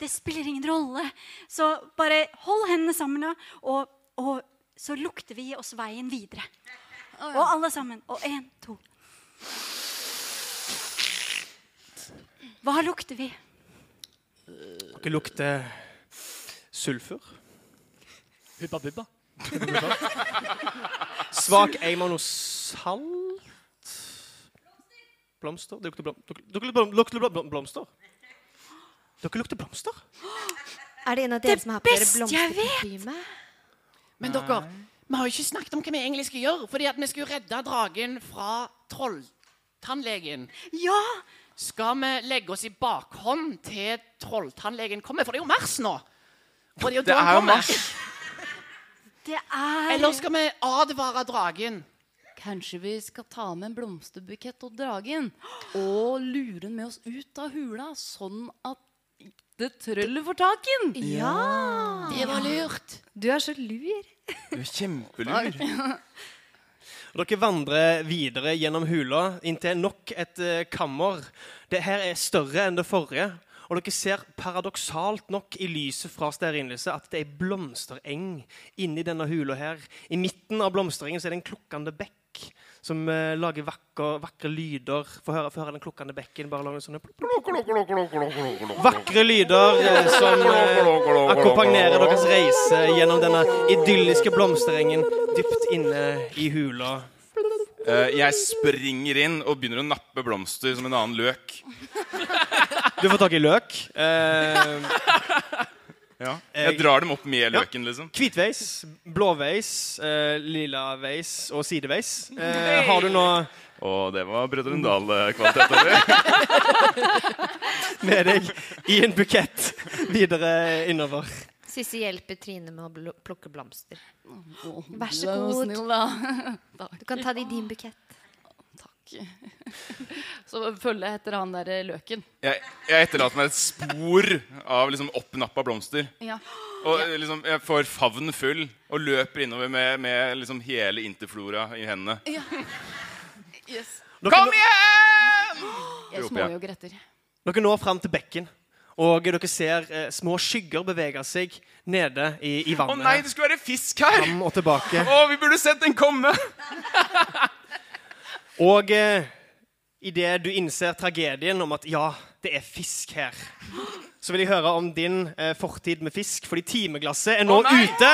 Det spiller ingen rolle. Så bare hold hendene sammen, da, og, og så lukter vi oss veien videre. Og alle sammen. Og én, to. Hva lukter vi?
Dere lukter sulfur.
Hubba bubba.
Svak eim av noe salt. Blomster? Dere lukter, blom dere, dere lukter, blom lukter blom blom blomster. Dere lukter blomster.
Er det en av
Det
dere som har på dere
beste jeg vet!
blomsterparfyme?
Men dere, vi har jo ikke snakket om hva vi egentlig skal gjøre. Fordi at vi skal jo redde dragen fra trolltannlegen.
Ja!
Skal vi legge oss i bakhånd til trolltannlegen kommer? For det er jo mars nå. Og det er jo
Det
da han
er jo
kommer.
mars.
Det er
Eller skal vi advare dragen?
Kanskje vi skal ta med en blomsterbukett og dragen og lure den med oss ut av hula, sånn at det trøller får tak i den.
Det var lurt.
Du er så lur.
Du er kjempelur.
Og dere vandrer videre gjennom hula inntil nok et eh, kammer. Det her er større enn det forrige. Og dere ser paradoksalt nok i lyset fra stearinlyset at det er ei blomstereng inni denne hula her. I midten av blomsterengen så er det en klukkende bekk som eh, lager vakker, vakre lyder. Få høre, få høre den klukkende bekken. bare lage sånne plop, plop. Vakre lyder eh, som eh, akkompagnerer deres reise gjennom denne idylliske blomsterengen dypt inne i hula.
Eh, Jeg springer inn og begynner å nappe blomster som en annen løk.
Du får tak i løk. Eh,
Ja. Jeg drar dem opp med løken, liksom.
hvitveis, blåveis, eh, lilaveis og sideveis. Eh, har du nå
Og det var Brødrene Dal-kvalitet. eller?
med deg i en bukett videre innover?
Sissy hjelper Trine med å bl plukke blomster.
Vær
så god.
Snill, da.
Du kan ta det i din bukett.
Takk. Så følger jeg etter han der eh, løken.
Jeg, jeg etterlater meg et spor av liksom oppnappa blomster.
Ja.
Og eh, liksom, jeg får favnen full og løper innover med, med liksom hele interflora i hendene.
Dere
Kom
nå-
igjen! Roper
Jeg
jeg.
småjogger etter.
Dere når fram til bekken, og dere ser eh, små skygger bevege seg nede i, i
Å
vannet.
nei, det skulle være fisk her!
Fram og tilbake.
Å, vi burde sett den komme!
Og eh, idet du innser tragedien om at ja, det er fisk her, så vil jeg høre om din eh, fortid med fisk, fordi timeglasset er nå ute.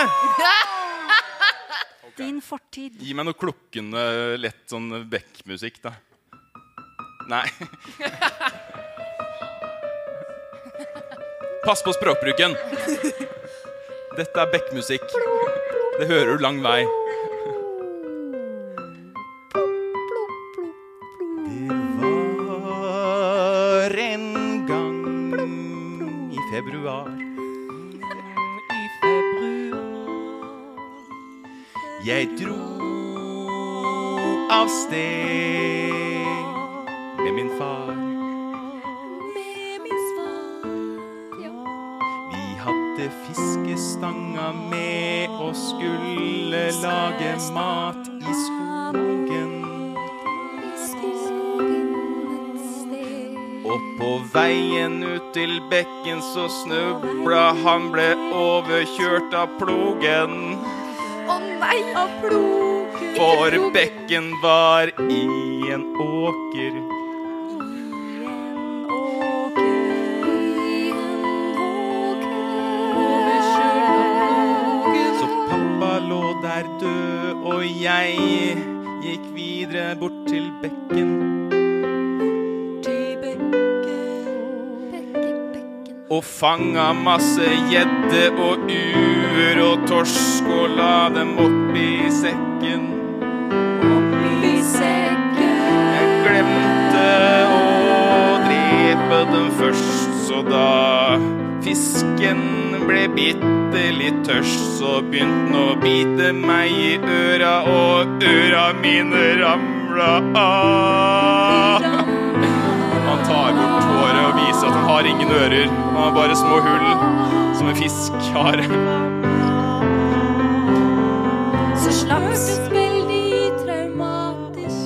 Din fortid.
Gi meg noe klukkende, lett sånn bekkmusikk, da. Nei. Pass på språkbruken. Dette er bekkmusikk. Det hører du lang vei. Det var en gang i februar. I februar jeg dro av sted med min far. Vi hadde fiskestanga med og skulle lage mat i skogen. Og på veien ut til bekken så snubla han, ble overkjørt av plogen.
Å nei!
For bekken var i en åker. Så pappa lå der død, og jeg gikk videre bort til bekken. Og fanga masse gjedde og uer og torsk og la dem oppi sekken. Jeg glemte å drepe den først, så da fisken ble bitte litt tørst, så begynte den å bite meg i øra, og øra mine ramla av. Han tar bort håret og viser at han har ingen ører. Han har bare små hull som en fisk har.
Så slaps.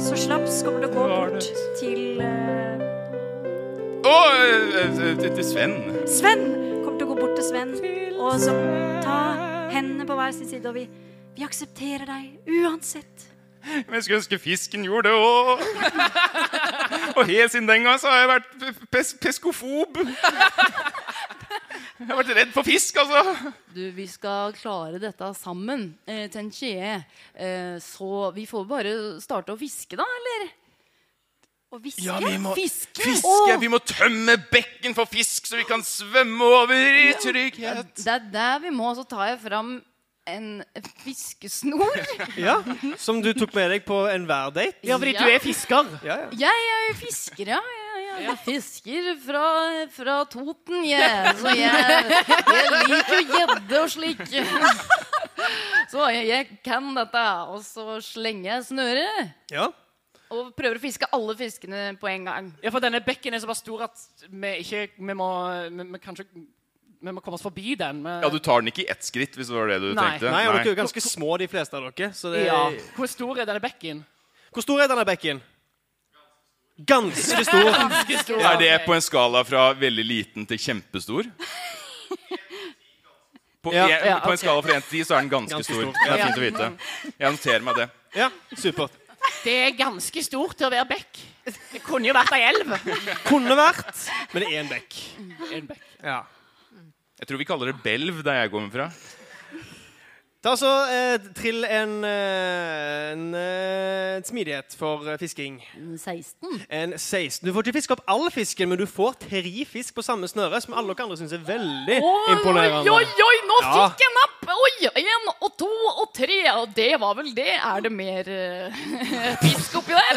Så slaps kommer til å gå bort til eh,
Å, eh, eh, til Sven.
Sven kommer til å gå bort til Sven og så ta hendene på hver sin side, og vi, vi aksepterer deg uansett.
Men jeg skulle ønske fisken gjorde det òg. Og helt siden den gang så har jeg vært pe- pes peskofob. Jeg har vært redd for fisk, altså.
Du, vi skal klare dette sammen, eh, Tenchie. Eh, så vi får bare starte å fiske, da, eller?
Og hviske.
Ja, vi må
Fiske?
fiske. Vi må tømme bekken for fisk, så vi kan svømme over i trygghet.
Det er der vi må. Så tar jeg fram en fiskesnor.
Ja, Som du tok med deg på enhver date.
Ja, fordi du er fisker.
Ja, ja.
Jeg er jo fisker, ja. Jeg, jeg, jeg fisker fra, fra Toten, jeg. Så jeg, jeg liker jo gjedde og slik. Så Så jeg, jeg kan dette. Og så slenger jeg snøret.
Ja.
Og prøver å fiske alle fiskene på en gang.
Ja, for denne bekken er såpass stor at vi ikke Vi må, vi, vi kanskje vi må komme oss forbi den. Vi-
Ja, Du tar den ikke i ett skritt, hvis det var det du
Nei.
tenkte?
Nei, og dere er jo ganske små, de fleste av dere. Så det
ja. Hvor stor er denne bekken?
Hvor stor er denne bekken? Ganske stor.
Ganske stor.
Er det på en skala fra veldig liten til kjempestor? På,
Ja,
en,
ja,
på en
ok.
skala fra 1 til 10 så er den ganske,
Ganske
stor.
stor.
Det er fint å vite. Jeg noterer meg det.
Ja, supert.
Det er ganske stort til å være bekk. Det kunne jo vært ei elv.
Kunne vært, men det er en bekk.
En bekk.
Ja.
Jeg tror vi kaller det belv der jeg kommer fra.
Ta så eh, trill en, eh, en, eh, en smidighet for eh, fisking.
16.
En 16. Du får ikke fiske opp all fisken, men du får tre fisk på samme snøre, som alle dere andre syns er veldig imponerende.
Oi, oi, oi, nå
Ja.
fikk jeg napp! Oi, én og to og tre, og det var vel det. Er det mer eh, fisk oppi der?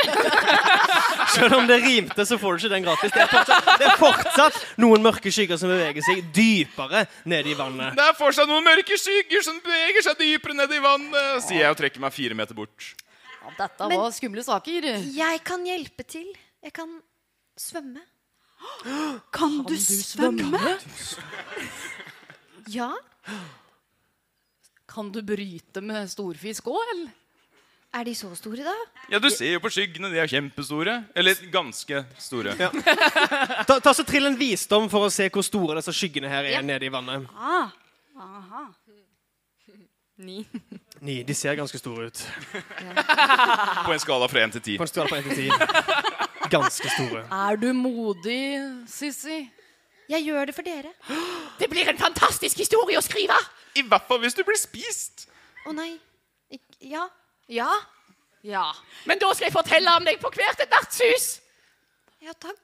Selv om det rimte, så får du ikke den gratis. Det er fortsatt, det er fortsatt noen mørke skygger som beveger seg dypere nede i vannet.
Det er fortsatt noen mørke skygger som beveger seg dypere ned i vannet, sier jeg og trekker meg fire meter bort.
Ja, dette var skumle saker.
Jeg kan hjelpe til. Jeg kan svømme.
Kan du svømme?
Ja.
Kan du bryte med storfisk òg, eller?
Er de så store, da?
Ja, du ser jo på skyggene. De er kjempestore. Eller ganske store.
Ta, ta så Trill en visdom for å se hvor store disse skyggene her er nede i vannet.
Ah, aha.
Ni, De ser ganske store ut.
På en skala fra én til ti.
På en skala på 1 til 10. Ganske store.
Er du modig, Sissy?
Jeg gjør det for dere.
Det blir en fantastisk historie å skrive!
I hvert fall hvis du blir spist.
Å nei. Ik ja. Ja.
Ja.
Men da skal jeg fortelle om deg på hvert et vertshus!
Ja, takk.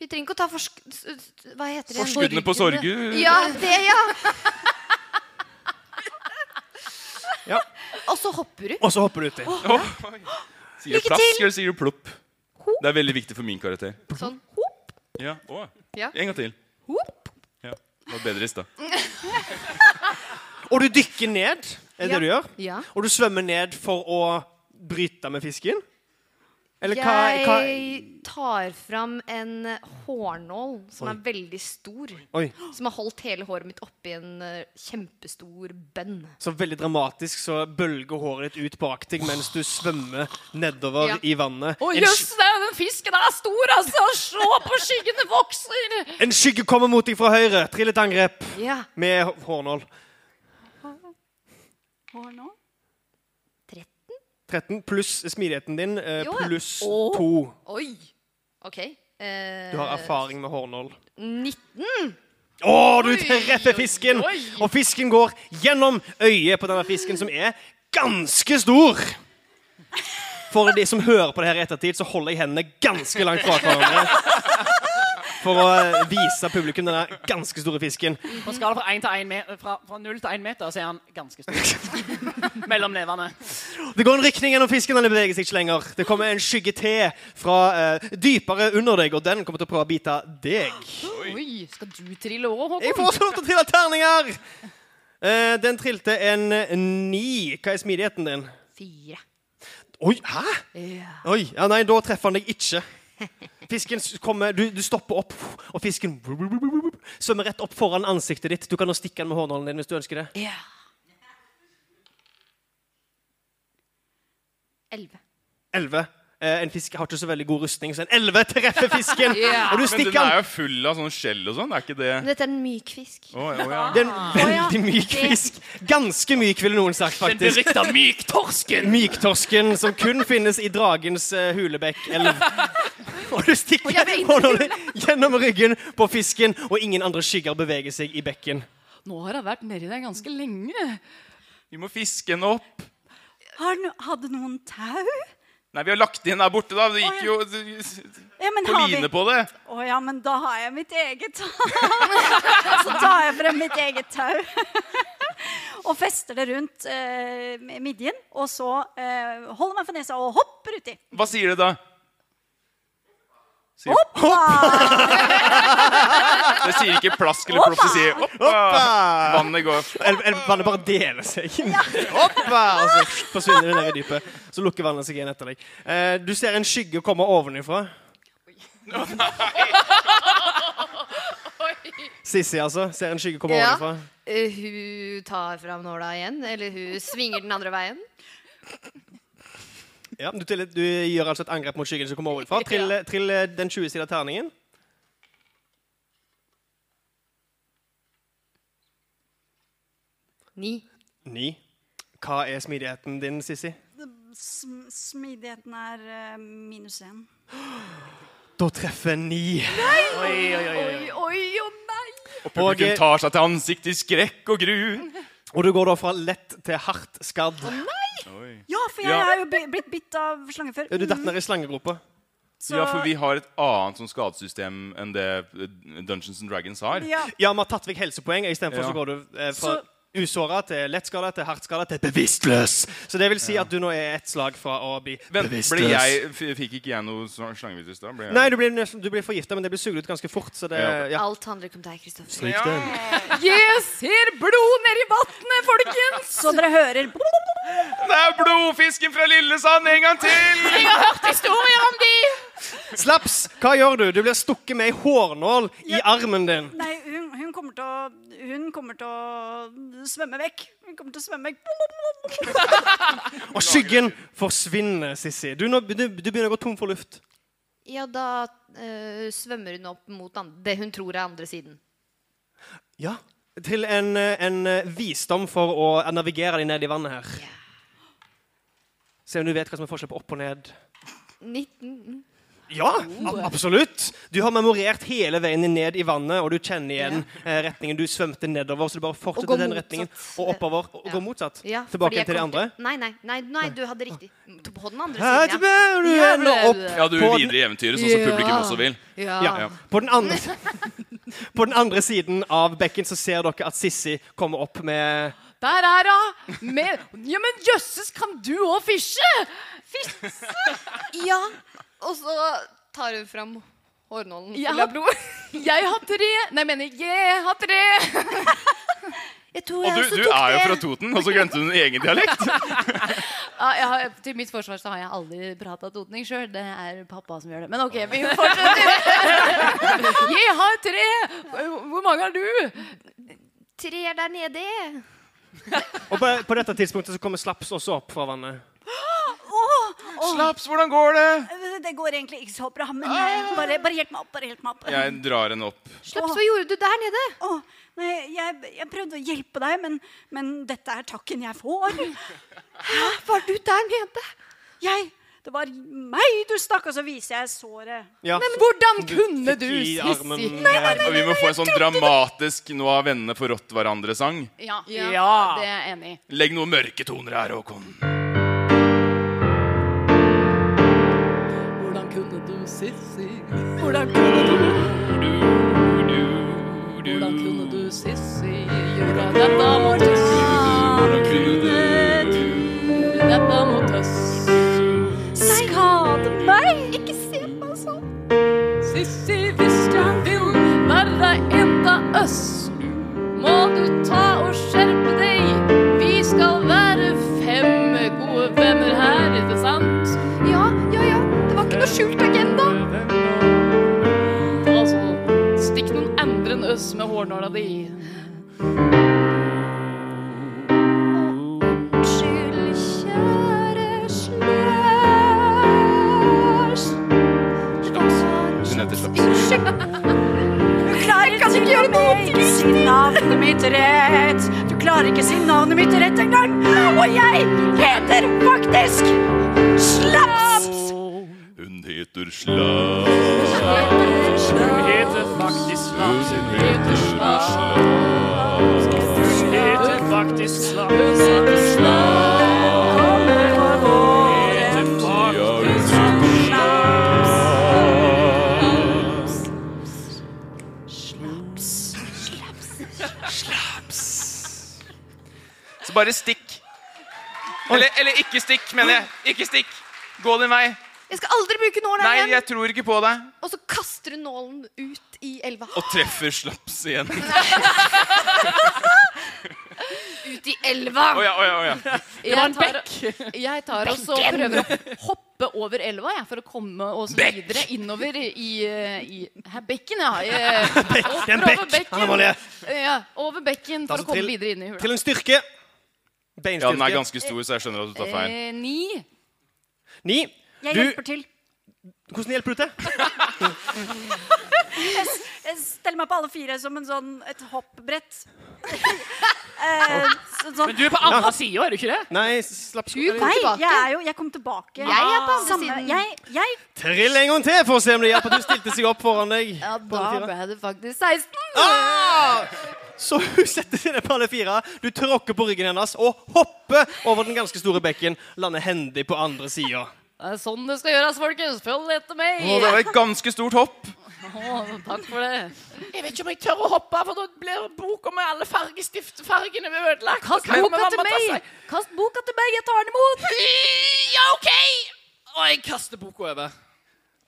Vi trenger ikke å ta forsk... s- s- Hva heter det? igjen?
Skuddene på Sorgu.
Ja, det, ja.
Ja.
Og så hopper du.
Og så hopper du uti.
Sier du plask, eller sier du plopp? Det er veldig viktig for min karakter.
Sånn.
Ja, å.
Ja.
En gang til. Ja. Det var bedre i stad.
Og du dykker ned, er det
Ja.
du gjør?
Ja.
Og du svømmer ned for å bryte med fisken? Eller hva, hva
Jeg tar fram en hårnål som er veldig stor.
Oi.
Som har holdt hele håret mitt oppi en eh, kjempestor bønn.
Så veldig dramatisk så bølger håret ditt ut bak deg mens du svømmer nedover
Ja.
i vannet.
Å
En,
jøss,
sky-
det er- den fisken er stor, altså! Se på skyggene vokser!
en skygge kommer mot deg fra høyre. Trill et angrep
Ja.
med h- hårnål.
Og nå?
13 pluss smidigheten din eh,
Jo, ja.
pluss
Å.
2.
Oi. OK. Eh,
Du har erfaring med hårnål.
19.
Å, du treffer fisken! Og fisken går gjennom øyet på denne fisken, som er ganske stor. For de som hører på det her i ettertid, så holder jeg hendene ganske langt fra hverandre. For å eh, vise publikum denne ganske store fisken.
På en skala fra, 1 til 1 me fra, fra 0 til 1 meter så er han ganske stor. Mellom nevene.
Det går en rykning gjennom fisken, den beveger seg ikke lenger. Det kommer en skygge til fra eh, dypere under deg, og den kommer til å prøve å bite deg.
Oi, skal du trille òg, Håkon?
Jeg får også lov til å trille terninger! Eh, den trilte en ni. Hva er smidigheten din?
Fire.
Oi, hæ? Oi, ja nei, da treffer han deg ikke. Fisken s- kommer, du, du stopper opp, og fisken svømmer rett opp foran ansiktet ditt. Du kan nå stikke den med hårnålen din hvis du ønsker det.
11.
11. Eh, en fisk har ikke så veldig god rustning, så en 11 treffer fisken! Og du
Men
stikker
den er
den.
jo full av sånn skjell og sånn. Er ikke det
Men dette er en myk fisk.
Å, å, ja.
Det er en veldig myk fisk. Ganske myk, ville noen sagt,
Den
faktisk.
berykta myktorsken!
Myktorsken som kun finnes i dragens eh, hulebekkelv. Og du stikker hånda di gjennom ryggen på fisken, og ingen andre skygger beveger seg i bekken.
Nå har jeg vært nedi deg ganske lenge.
Vi må fiske den opp.
Har no hadde noen tau?
Nei, vi har lagt den der borte, da. Det gikk jo
Ja, men
på
har vi...
line på det.
Å ja, men da har jeg mitt eget Så tar jeg frem mitt eget tau og fester det rundt eh, midjen. Og så eh, holder meg for nesa og hopper uti.
Hva sier det da? Sier,
Ah,
det sier ikke plask eller ploff, det sier oppa.
Hoppa!
Vannet går
Eller eller vannet bare deler seg. Hoppa! Og så forsvinner det ned i dypet. Så lukker vannet seg igjen etter deg. Eh, Du ser en skygge komme ovenifra. Sissy, altså. Ser en skygge komme
Ja.
ovenifra.
Eh, hun tar fram nåla igjen, eller hun svinger den andre veien.
Ja, du, til, du gjør altså et angrep mot skyggen som kommer ovenfra. Trill, trill eh, den 20-sida terningen.
Ni.
Ni. Hva er smidigheten din, Sissy?
Sm smidigheten er eh, minus én.
Da treffer ni.
Oi, oi, oi, oi.
Og publikum tar seg til ansikt i skrekk og gru.
Og du går da fra lett til hardt skadd.
Ja, for jeg
Ja.
har jo bli- blitt bitt av slange før.
Du
Mm,
detter ned i slangegropa.
så-
Ja, for vi har et annet sånn skadesystem enn det eh, Dungeons and Dragons har.
Ja,
Ja, vi har tatt vekk helsepoeng. Istedenfor
Ja.
så går du eh, fra
Så-
usåra til lettskada til hardt skada til bevisstløs. Så det vil si at du nå er ett slag fra å bli
Vent,
bevisstløs.
ble jeg, f- fikk ikke jeg noe sl- slangevirus da? Ble jeg-
Nei, du blir, nesten- du blir forgifta, men det blir sugd ut ganske fort. Så det,
Ja.
ja.
Alt handler ikke om deg, Kristoffer.
Slik den.
Jeg ser blod nedi vannet, folkens!
så dere hører
Det er blodfisken fra Lillesand en gang til!
Historier om de!
Slaps! Hva gjør du? Du blir stukket med ei hårnål i armen din.
Nei, hun, hun, kommer til å, hun kommer til å svømme vekk. Hun kommer til å svømme vekk.
Og skyggen forsvinner, Sissy. Du, nå- du, du begynner å gå tom for luft.
Ja, da eh, svømmer hun opp mot an- det hun tror er andre siden.
Ja. Til en, eh, en eh, visdom for å navigere deg ned i vannet her. Se om du vet hva som er forskjell på opp og ned.
19.
Ja,
Oh.
ab- absolutt. Du har memorert hele veien ned i vannet, og du kjenner igjen eh, retningen du svømte nedover. Så du bare
Og gå
fortsetter den
motsatt.
retningen og oppover. Og
Ja.
gå motsatt.
Ja, fordi
Tilbake
jeg
til de
kom
andre.
Nei, nei, nei, nei, du hadde riktig. På den andre
Her
siden,
tilbake, du
Ja,
ender
ble
opp
det.
Ja, du
På
vil
den-
videre i eventyret, sånn som publikum
Ja.
også vil.
ja.
Ja.
Ja.
På, den andre, på den andre siden av bekken så ser dere at Sissy kommer opp med
Der er hun! Med... Ja, men jøsses, kan du òg fisje?
Ja. Og så tar hun fram hårnålen
Jeg
full av
har-
blod.
Jeg har tre Nei, jeg mener jeg har tre!
Jeg tror
Og
jeg
du,
også
du
tok
er jo
det.
fra Toten, og så glemte du din egen dialekt.
Ja, jeg har, til mitt forsvar så har jeg aldri prata totning sjøl. Det er pappa som gjør det. Men OK, vi fortsetter. Jeg har tre! Hvor mange har du?
Tre er der nede.
Og på, på dette tidspunktet så kommer Slaps også opp fra vannet.
Slaps, hvordan går det?
Det går egentlig ikke så bra, men eh, bare, bare hjelp meg opp. Bare hjelp meg opp.
Jeg drar henne opp.
Slaps, hva gjorde du der nede?
Å, nei, jeg, jeg prøvde å hjelpe deg, men, men dette er takken jeg får.
Ah, Var du der nede?
Jeg, det var meg du stakk, og så viser jeg såret.
Ja, så
Hvordan kunne
fikk
du,
i armen
Sissy?
her.
Og vi må få en sånn dramatisk 'Nå har vennene forrådt hverandre'-sang.
Ja,
Ja.
det er jeg enig i.
Legg noen mørke toner her, Håkon.
Hvordan kunne du, Sissy?
Hvordan kunne du
Hvordan kunne du, Sissy, gjøre
Dette må tøss, dette må tøss.
Skade meg! Ikke se meg sånn.
Sissy, hvis du vil være en av oss, må du ta og skjerpe deg. Vi skal være fem gode venner her, ikke sant?
Ja, ja, ja. Det var ikke noe skjult agenda.
Altså, stikk noen andre enn oss med hårnåla di.
Unnskyld, kjære sløs.
Hun heter Slaps.
Du klarer ikke til og med ikke si navnet mitt rett. Du klarer ikke si navnet mitt rett engang. Og jeg heter faktisk Slaps.
Hun heter Slaps.
Hun heter faktisk Slaps. Hun
heter Slaps.
heter faktisk Slaps. Hun heter faktisk
Så bare stikk. Eller, eller ikke stikk, mener jeg. Ikke stikk. Gå din vei.
Jeg skal aldri bruke nålen
Nei,
her igjen.
jeg tror ikke på deg.
Og så kaster hun nålen ut i elva.
Og treffer slaps igjen.
Ut i elva!
Å ja, å ja, å ja.
var en
bekk. Jeg tar og så prøver å hoppe over elva jeg, for å komme oss videre innover i, eh, i Hæ, bekken, ja. Jeg,
Det er en bekk. Anne Marie.
ja. Over bekken
Da
for å
så
komme
trill-
videre inn i hula.
Altså, Til en
ja,
styrke.
den er
Beinstyrke.
ganske stor, så jeg skjønner at du tar feil.
Eh, ni.
Ni.
Jeg
Du-
hjelper til.
Hvordan hjelper du til?
Jeg steller meg på alle fire som en sånn, et hoppbrett. Eh, så, sånn.
Men du er på andre sida, er du ikke det?
Nei, slapp sko.
Nei, jeg er jo Jeg kom tilbake.
Jeg er på andre
Samme-
siden.
Jeg, jeg
Trill en gang til for å se om det hjelper. Du stilte seg opp foran deg.
Ja,
på
da
alle fire.
ble det faktisk 16.
Ah! Så hun setter seg ned på alle fire. Du tråkker på ryggen hennes og hopper over den ganske store bekken. Lander hendig på andre sida.
Det er sånn det skal gjøres, folkens. Følg etter meg.
Å, det var et ganske stort hopp.
Å, takk for det.
Jeg vet ikke om jeg tør å hoppe, for da blir boka med alle fargestiftfargene ødelagt.
Kast
Da kan
boka
mamma
til
ta seg-
meg! Kast boka til meg, jeg tar den imot!
Ja, OK! Og jeg kaster boka over.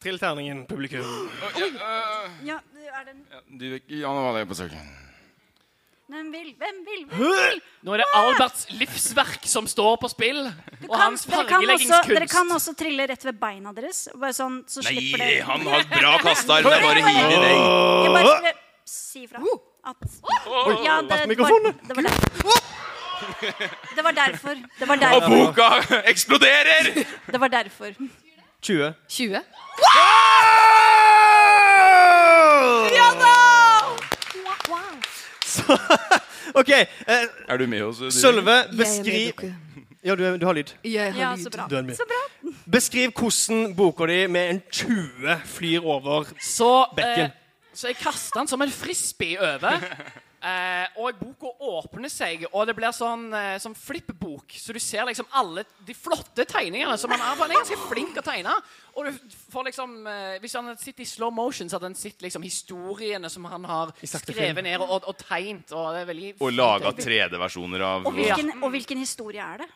Trill terningen, publikum.
ja, er det en,
Du, ja, nå var det på søken.
Hvem vil? Hvem vil?
Nå er det Alberts livsverk som står på spill. Og
Kan,
hans
dere, kan også, dere
fargeleggingskunst.
kan også trille rett ved beina deres. Bare sånn, så
Nei,
slipper dere
han har bra kastearm. Det er bare å hive i deg.
Jeg bare skulle si fra
Oh.
at Ja, det,
Pass
det, var,
mikrofonen.
det var derfor. Det var derfor. Det var
Og
derfor.
boka eksploderer!
Det var derfor.
20.
20.
Ah!
Så, OK. Eh,
Er du med oss? Dyr?
Sølve,
Jeg er
beskriv
med
Ja, du, er- du har lyd.
Jeg
Ja,
har
så
lyd.
bra.
Du er med.
Så bra.
Beskriv hvordan boka di med en 20 flyr over
Så,
Bekken.
eh, så jeg kaster den som en frisbee over. Eh, og boka åpner seg, og det blir sånn eh, som flippbok. Så du ser liksom alle de flotte tegningene. Som han er, han er ganske flink til å tegne. Og du får liksom eh, Hvis han hadde sittet i slow motion, så hadde han sett liksom historiene som han har
sakte
skrevet ned og, og tegnet. Og det er veldig
Og laga 3D-versjoner av
Og hvilken, og hvilken historie er det?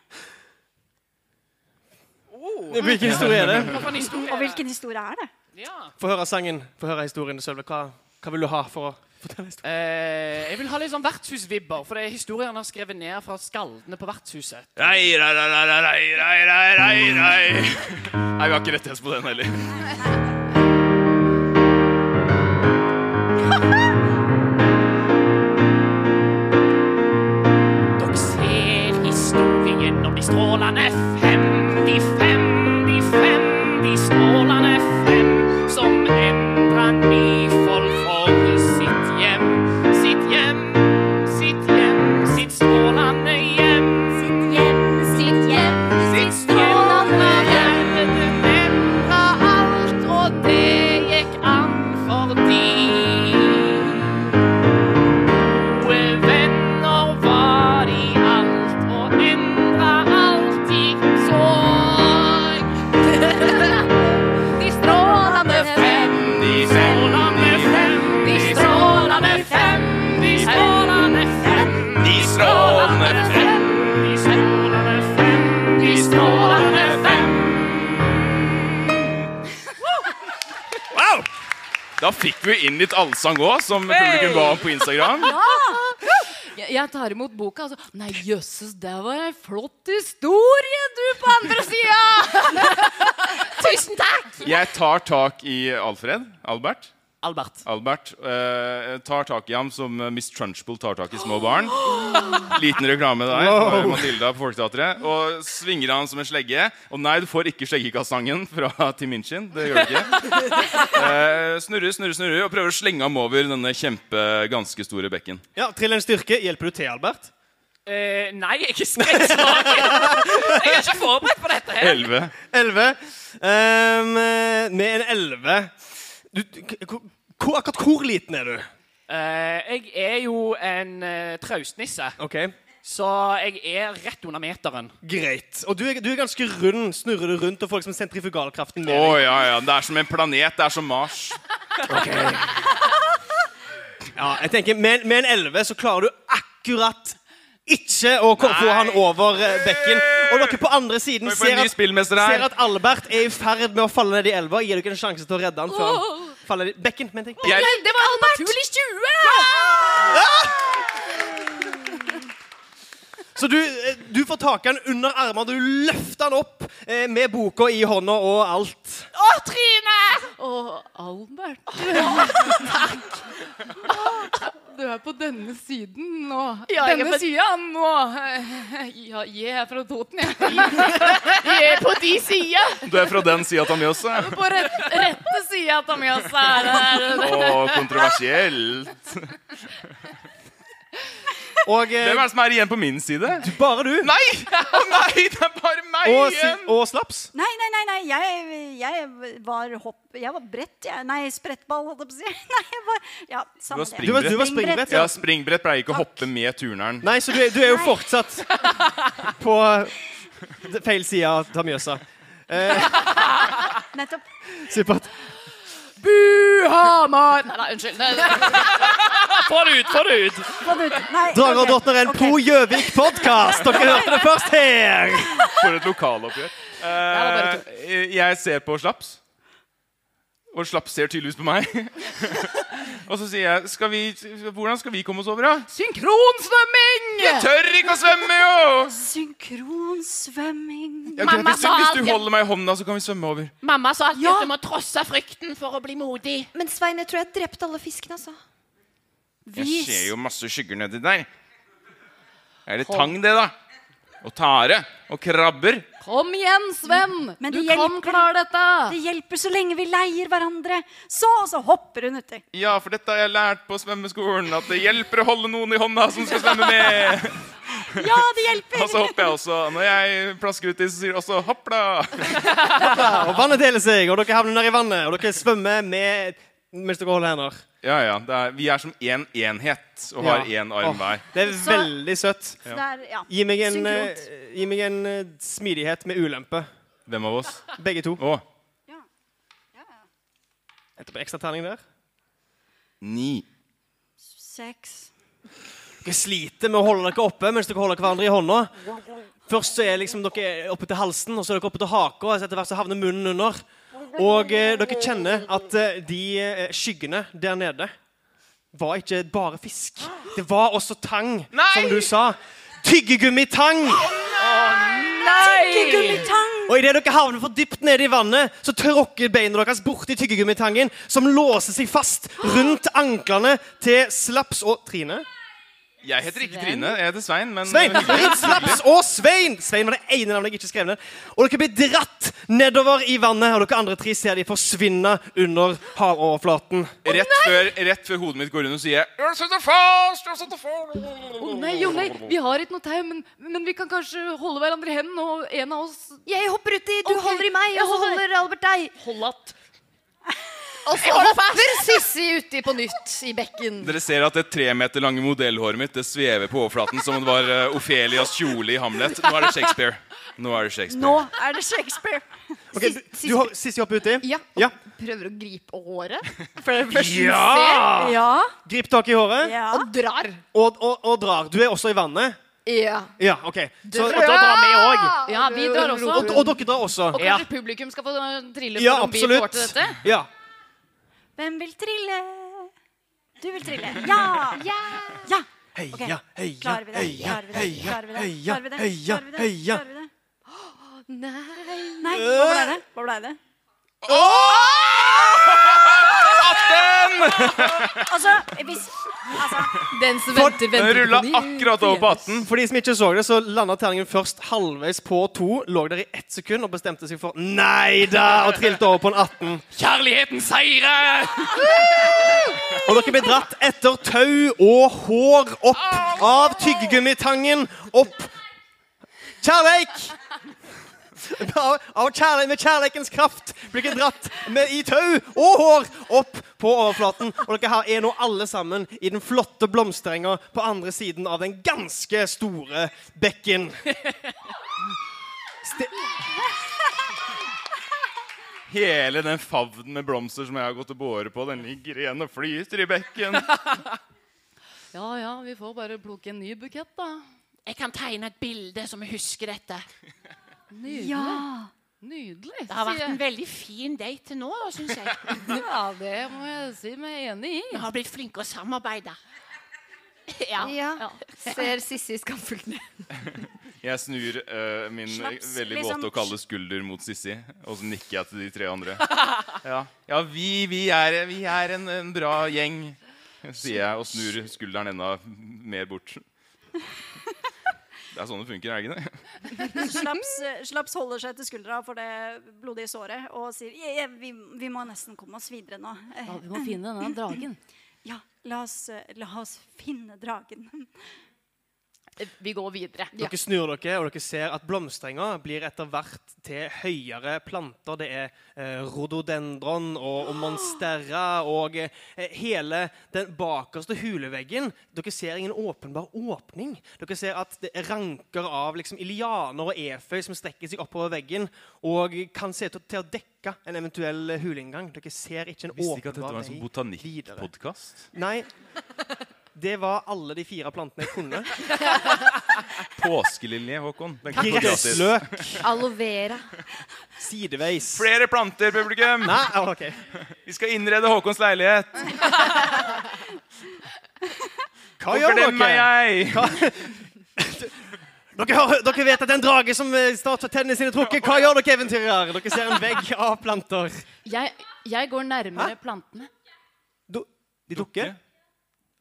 Hvilken historie er det?
Hva for en historie er
Og
det?
hvilken historie er det?
Ja.
Få høre sangen. Få høre historien, Sølve. Hva, hva vil du ha for å fortelle historien?
Eh, jeg vil ha litt sånn vertshusvibber, for det er historien han har skrevet ned fra skaldene på vertshuset.
Rei, rei, rei, rei, rei, rei, rei, rei, rei. Nei, vi har ikke rettighet på den heller.
Dere ser historien om de strålende fem, de fem, de fem, de strålende fem, som endra Nifold for sitt hjem, sitt hjem, sitt hjem, sitt strålende hjem,
Sitt hjem, sitt hjem,
sitt strålende hjem. Den endra alt, og det gikk an fordi Gode venner var i alt og endra alt i sorg. De strålende fem, de strålende fem, de strålende fem, de strålende fem,
De strålende
fem, de strålende fem, de strålende fem.
Wow! Da fikk vi inn litt allsang òg, som publikum ba om på Instagram.
Jeg, jeg tar imot boka, og så Nei, jøsses, det var ei flott historie, du, på andre sida! Tusen takk!
Jeg tar tak i Alfred. Albert.
Albert.
Albert eh, tar tak i ham som eh, Miss Trunchbull tar tak i små barn. Liten reklame der for Matilda på Folketeatret. Og svinger han som en slegge. Og nei, du får ikke sleggekassangen fra Tim Minchin. Det gjør du ikke. Eh, snurrer, snurrer, snurrer og prøver å slenge ham over denne kjempe, ganske store bekken.
Ja, Trill en styrke. Hjelper du til, Albert?
Eh, nei, jeg er ikke skrekksvak. Jeg er ikke forberedt på dette her.
11.
11. Ehm, eh, med en 11 du, k- k- hvor, Akkurat hvor liten er du?
Eh, jeg er jo en eh, traustnisse.
Ok,
Så jeg er rett under meteren.
Greit. Og du er, du er ganske rund. Snurrer du rundt og får liksom sentrifugalkraften med
Å
deg?
ja, ja. Det er som en planet. Det er som Mars.
Ja, jeg tenker, med, en- med en 11 så klarer du akkurat ikke å ko- få han over eh, bekken. Og Og dere på andre siden
Nå får vi
ser
en ny
at,
spillmester her.
ser at Albert er i ferd med å falle ned i elva. Gir dere en sjanse til å redde han før han faller i bekken? Men tenk.
Jeg,
Det var en naturlig 20!
Så du, eh, du får tak i han under armene, du løfter han opp eh, med boka i hånda og alt.
Og Albert Takk. Du er på denne siden nå.
Ja, jeg er
denne
på-
sida nå. Ja, jeg er fra Toten, jeg.
Jeg er på de sida.
du er fra den sida av Mjøset.
På rett, rette sida av Mjøsa er det her.
Og kontroversiell.
Og eh,
Hvem er det som er igjen på min side?
bare du.
Nei! Å nei, det er bare meg
Og, si-
igjen!
og slaps.
Nei, nei, nei, nei. Jeg, jeg var hopp... Jeg var brett, jeg. Nei, sprettball, holdt jeg på å si. Nei, jeg var Ja,
Du var
samme
Du var,
Springbrett.
du var springbrett,
Ja,
ja.
springbrett pleier ikke å hoppe med turneren.
Nei, så du er, du er jo fortsatt på d- feil side av Mjøsa.
Nettopp.
Supert.
Buhamar!
Nei, nei, unnskyld. Nei,
Få det ut, få det ut!
Få det ut. Nei,
Drager og
ok,
drottner, en
ok.
pro Gjøvik-podkast! Dere hørte det først her!
For et lokaloppgjør. Eh, jeg ser på Slaps, og Slaps ser tydeligvis på meg. og så sier jeg skal vi, 'Hvordan skal vi komme oss over, da?'
Synkronsvømming!
Jeg tør ikke å svømme, jo!
Synkronsvømming.
Ja, greit,
Mamma
hvis, du,
sa
hvis du
alltid-
holder meg i hånda, så kan vi svømme over.
Mamma sa alltid at du må trosse frykten for å bli modig.
Men Svein, jeg tror jeg drepte alle fiskene, altså.
Jeg ser jo masse skygger nedi der. Er det tang, det, da? Og tare? Og krabber?
Kom igjen, Sven.
Men
Du
det
kan
hjelper.
klare dette.
Det hjelper så lenge vi leier hverandre. Så, og så hopper hun uti.
Ja, for dette har jeg lært på svømmeskolen. At det hjelper å holde noen i hånda som skal svømme med.
Ja, det hjelper!
Og så hopper jeg også. Når jeg plasker uti, så sier de også 'hoppla'.
Og vannet deler seg, og dere havner ned i vannet. Og dere svømmer med mens dere holder hender.
Ja, ja. Det er, vi er som én enhet og har
Ja.
én arm
Åh,
hver.
Det er veldig søtt.
Det er- ja.
Gi meg en,
Synkront.
eh, gi meg en eh, smidighet med ulempe.
Hvem av oss?
Begge to.
Å.
Etterpå ekstra terning der.
Ni.
Seks.
Dere sliter med å holde dere oppe mens dere holder hverandre i hånda. Først så er liksom dere oppe til halsen, og så er dere oppe til haka, og så etter hvert så havner munnen under. Og eh, dere kjenner at eh, de eh, skyggene der nede var ikke bare fisk. Det var også tang, som du sa. Tyggegummitang!
Tyggegummitang!
Og idet dere havner for dypt nede i vannet, så tråkker beina deres borti tyggegummitangen, som låser seg fast rundt anklene til Slaps og Trine.
Jeg heter ikke Trine. Jeg heter Svein. Men
Svein! Fritz Laps og Svein! Svein var det ene navnet jeg ikke skrev ned. Og dere blir dratt nedover i vannet, og dere andre tre ser de forsvinne under havoverflaten.
rett, før, rett før hodet mitt går under, sier jeg «Jeg sitter fast, jeg sitter fast».
Å nei, å nei. Vi har ikke noe tau, men, men vi kan kanskje holde hverandre i hendene, og en av oss
Jeg hopper uti, du
Ok,
holder i meg,
jeg
og så
holder.
holder Albert deg.
Hold att. Og så hopper Sissi uti på nytt i bekken.
Dere ser at det tre meter lange modellhåret mitt Det svever på overflaten som om det var eh, Ofelias kjole i Hamlet. Nå er det Shakespeare. Nå er det Shakespeare.
Nå er det Shakespeare.
Ok, du, du, hop- Sissy hopper uti.
Ja.
Ja.
Prøver å gripe håret. For det første hun
Ah.
Ja!
Ja.
Grip tak i håret
ja.
ser, og drar.
og, og, og drar. Du er også i vannet.
Ja.
Ja, OK. Så, og da drar vi òg.
Ja, vi drar også.
Og, og dere drar også.
Ja.
Kanskje publikum skal få uh, trille
Ja,
for om vi får
absolutt.
til dette?
Ja.
Hvem vil trille? Du vil trille. Ja! Ja! ja. Ok.
Heia, heia,
Klarer vi det?
heia,
Klarer vi det?
heia,
Klarer vi det?
heia,
Klarer vi det?
heia,
Klarer vi det?
heia.
Klarer vi det?
Nei.
Nei, hva ble det? Hva ble det? Altså, hvis Altså,
Den som venter,
Den
venter
rulla
på ny.
akkurat over på 18.
For de som ikke så det, så landa terningen først halvveis på to. Lå der i ett sekund og bestemte seg for nei da, og trilte over på en 18.
Kjærligheten seirer!
Og dere ble dratt etter tau og hår opp av tyggegummitangen opp Kjærleik! Av, av kjærleik, med kjærleikens kraft blir dere dratt med, i tau og hår opp på overflaten. Og dere her er nå alle sammen i den flotte blomsterenga på andre siden av den ganske store bekken.
Hele den favnen med blomster som jeg har gått og båret på, den ligger igjen og flyter i bekken.
Ja ja, vi får bare plukke en ny bukett, da.
Jeg kan tegne et bilde som husker dette.
Nydelig.
Ja.
Nydelig.
Det har vært
sier
en
jeg.
veldig fin date til nå, syns jeg.
Ja, det må jeg si meg enig i.
Vi har blitt flinke å samarbeide. Ja.
Ja. Ser Sissi skamfullt ned.
Jeg snur eh, min
Slaps,
veldig
liksom.
våte og kalde skulder mot Sissi, og så nikker jeg til de tre andre. Ja, ja vi, vi er, vi er en, en bra gjeng, sier jeg og snur skulderen enda mer bort. Det er sånn det funker, er det ikke det?
Slaps, slaps holder seg til skuldra for det blodige såret og sier «Je, je, vi, vi må nesten komme oss videre nå. Eh,
Ja, vi må finne denne dragen.
Ja, la oss, eh, la oss finne dragen.
Vi går videre.
Dere snur dere, og dere ser at blomstrenga blir etter hvert til høyere planter. Det er eh, rododendron og, og monstera og eh, hele den bakerste huleveggen. Dere ser ingen åpenbar åpning. Dere ser at det er ranker av liksom, ilianer og eføy som strekker seg oppover veggen og kan se ut til å dekke en eventuell huleinngang. Dere ser ikke en
Visste ikke at dette
åpenbar
var en sånn
vei.
botanikkpodkast.
Nei, det var alle de fire plantene jeg kunne.
Påskelilje, Håkon. Den kan gratis.
Gressløk,
Aloe vera.
sideveis.
Flere planter, publikum!
Nei, ah, ok.
Vi skal innrede Håkons leilighet.
Hva gjør
Forglem meg,
dere?
jeg!
Dere, har, dere vet at det er en drage som eh, snart får tennene sine trukket. Hva gjør dere, eventyrer? Dere ser en vegg av planter.
Jeg, jeg går nærmere plantene.
Du, de dukker?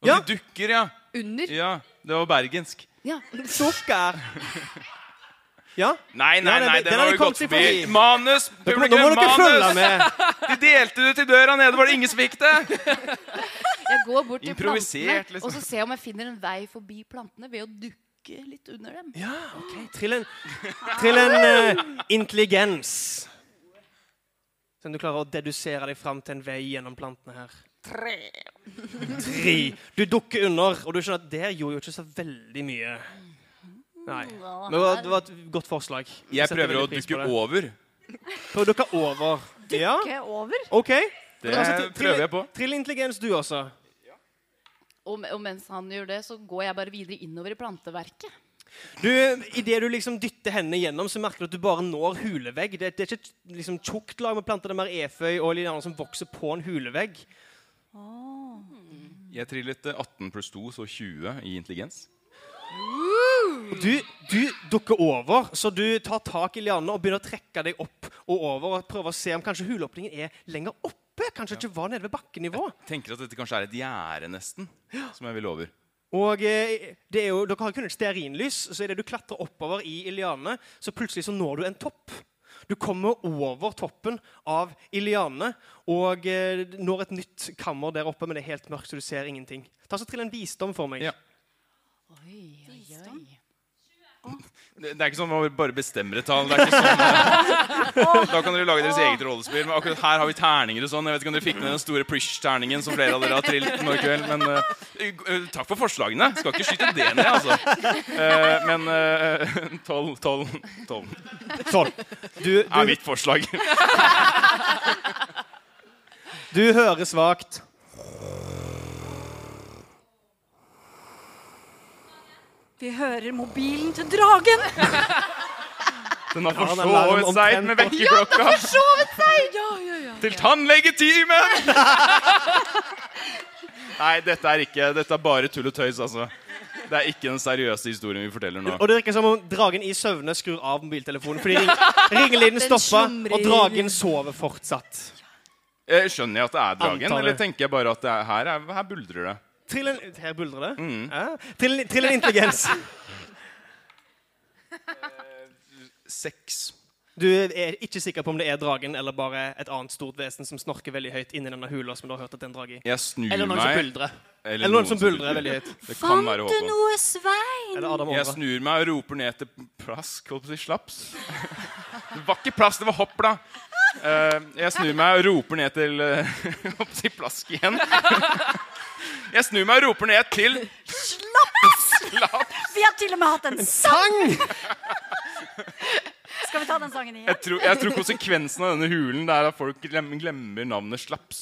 Og
Ja.
de dukker, ja.
Under.
ja. Det var bergensk.
Ja.
Dukker. Ja?
Nei, nei,
Nei, nei,
nei,
den
den
har
har
de
vi
kommet
gått
seg
forbi.
forbi.
Manus!
Dere, må- nå må
Publikum,
dere følge
manus!
med.
De delte det til døra nede, var det ingen som fikk det?
Jeg går bort til
Improvisert,
plantene
liksom.
og så ser jeg om jeg finner en vei forbi plantene ved å dukke litt under dem.
Ja, ok. Trill en, trill en eh, intelligens. Sånn du klarer å dedusere deg fram til en vei gjennom plantene her. Tre. Tre. Du dukker under, og du skjønner at det gjorde jo ikke så veldig mye. Nei. Men det var, det var et godt forslag.
Jeg
setter
prøver å
veldig pris på
dukke
det.
over.
Prøv å dukke over. Ja,
Ok, over.
OK.
Det
altså,
prøver jeg på.
Trill intelligens, du også.
Og, me- og mens han gjør det, så går jeg bare videre innover i planteverket.
Du, Idet du liksom dytter hendene gjennom, så merker du at du bare når hulevegg. Det, det er ikke et liksom, tjukt lag med planter, det er mer eføy og litt annet som vokser på en hulevegg.
Jeg trillet eh, 18 pluss 2, så 20 i intelligens.
Og Du, du dukker over, så du tar tak i lianene og begynner å trekke deg opp og over og prøver å se om kanskje huleåpningen er lenger oppe. Kanskje ikke var nede ved bakkenivå.
Tenker at dette kanskje er et gjerde, nesten, som jeg vil over.
Og eh, det er jo, Dere har kun et stearinlys, så idet du klatrer oppover i ilianene, så plutselig så når du en topp. Du kommer over toppen av ilianene og eh, når et nytt kammer der oppe, men det er helt mørkt, så du ser ingenting. Ta så Trill en visdom for meg.
Ja. Det det er ikke sånn at man bare bestemmer et tall. Det er ikke sånn. Da kan dere lage deres eget rollespill. Men akkurat her har vi terninger og sånn. Jeg vet ikke om dere fikk med den store Prish-terningen som flere av dere har trillet nå i kveld. Men eh, eh, takk for forslagene. Skal ikke skyte det ned, altså. Eh, men eh, tolv, tolv, tolv
Sånn. Du,
er
du,
mitt forslag.
du hører svakt.
Vi hører mobilen til dragen.
Den har
Ja, den er
forsovet
omtrent
seg med vekkerklokka. Til tannlegetimen! Nei, dette er ikke Dette er bare tull og tøys, altså. Det er ikke den seriøse historien vi forteller nå.
Og det virker som om dragen i søvne skrur av mobiltelefonen fordi ring, ringelyden stoppa, og dragen sover fortsatt.
Eh, Skjønner jeg at det er dragen,
Antar det.
eller tenker jeg bare at det er, her, er, her buldrer det?
Trill en Her buldrer det. Ja. Trill, trill en intelligens.
Seks.
Du er ikke sikker på om det er dragen eller bare et annet stort vesen som snorker veldig høyt inni denne hula som du har hørt at det er en drage i.
Jeg snur
Eller noen
meg
som buldrer. Eller noen som buldrer veldig høyt.
Det kan være Håkon.
noe, Svein?
Eller Adam
Jeg
Åndra.
snur meg og roper ned til plask. Holdt på å si slaps. Det var ikke plass, det var hoppla. Eh, jeg snur meg og roper ned til eh, Holdt på å si plask igjen. Jeg snur meg og roper ned til Slaps!
Vi har til og med hatt en sang! Skal vi ta den sangen igjen?
Jeg tror, jeg tror konsekvensen av denne hulen Det er at folk glem- glemmer navnet Slaps.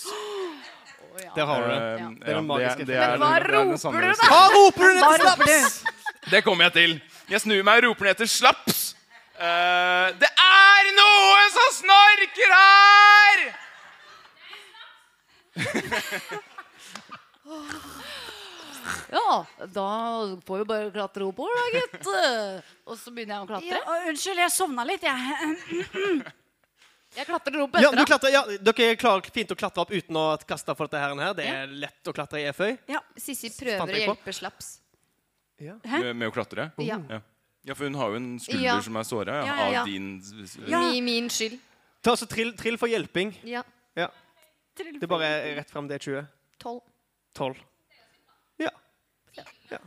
Der har du det.
Eh,
den
ja,
magiske
det er- det er-
Men hva
det er den
roper
samme-
du da?
Hva roper du
Hva
ned til
roper
slaps?
Det kommer jeg til. Jeg snur meg og roper ned til slaps. Eh, det er noen som snorker her!
Ja, da får vi bare klatre oppover, da, gitt. Og så begynner jeg å klatre.
Ja, og unnskyld, jeg sovna litt, jeg.
Jeg klatrer opp
Ja,
etter
du
deg.
klatrer, ja, dere klarer fint å klatre opp uten å kaste for dette her. her. Det er lett å klatre i eføy.
Sissy
Fant
prøver å
jeg på?
hjelpe slaps.
Med, med å klatre?
Ja.
Ja, for hun har jo en skulder
Ja.
som er såra ja,
Ja, ja,
av
ja.
din
Mi, min skyld.
Ta så trill, trill for hjelping.
Ja.
Det er bare rett fram det er 20.
Tolv.
12. Ja.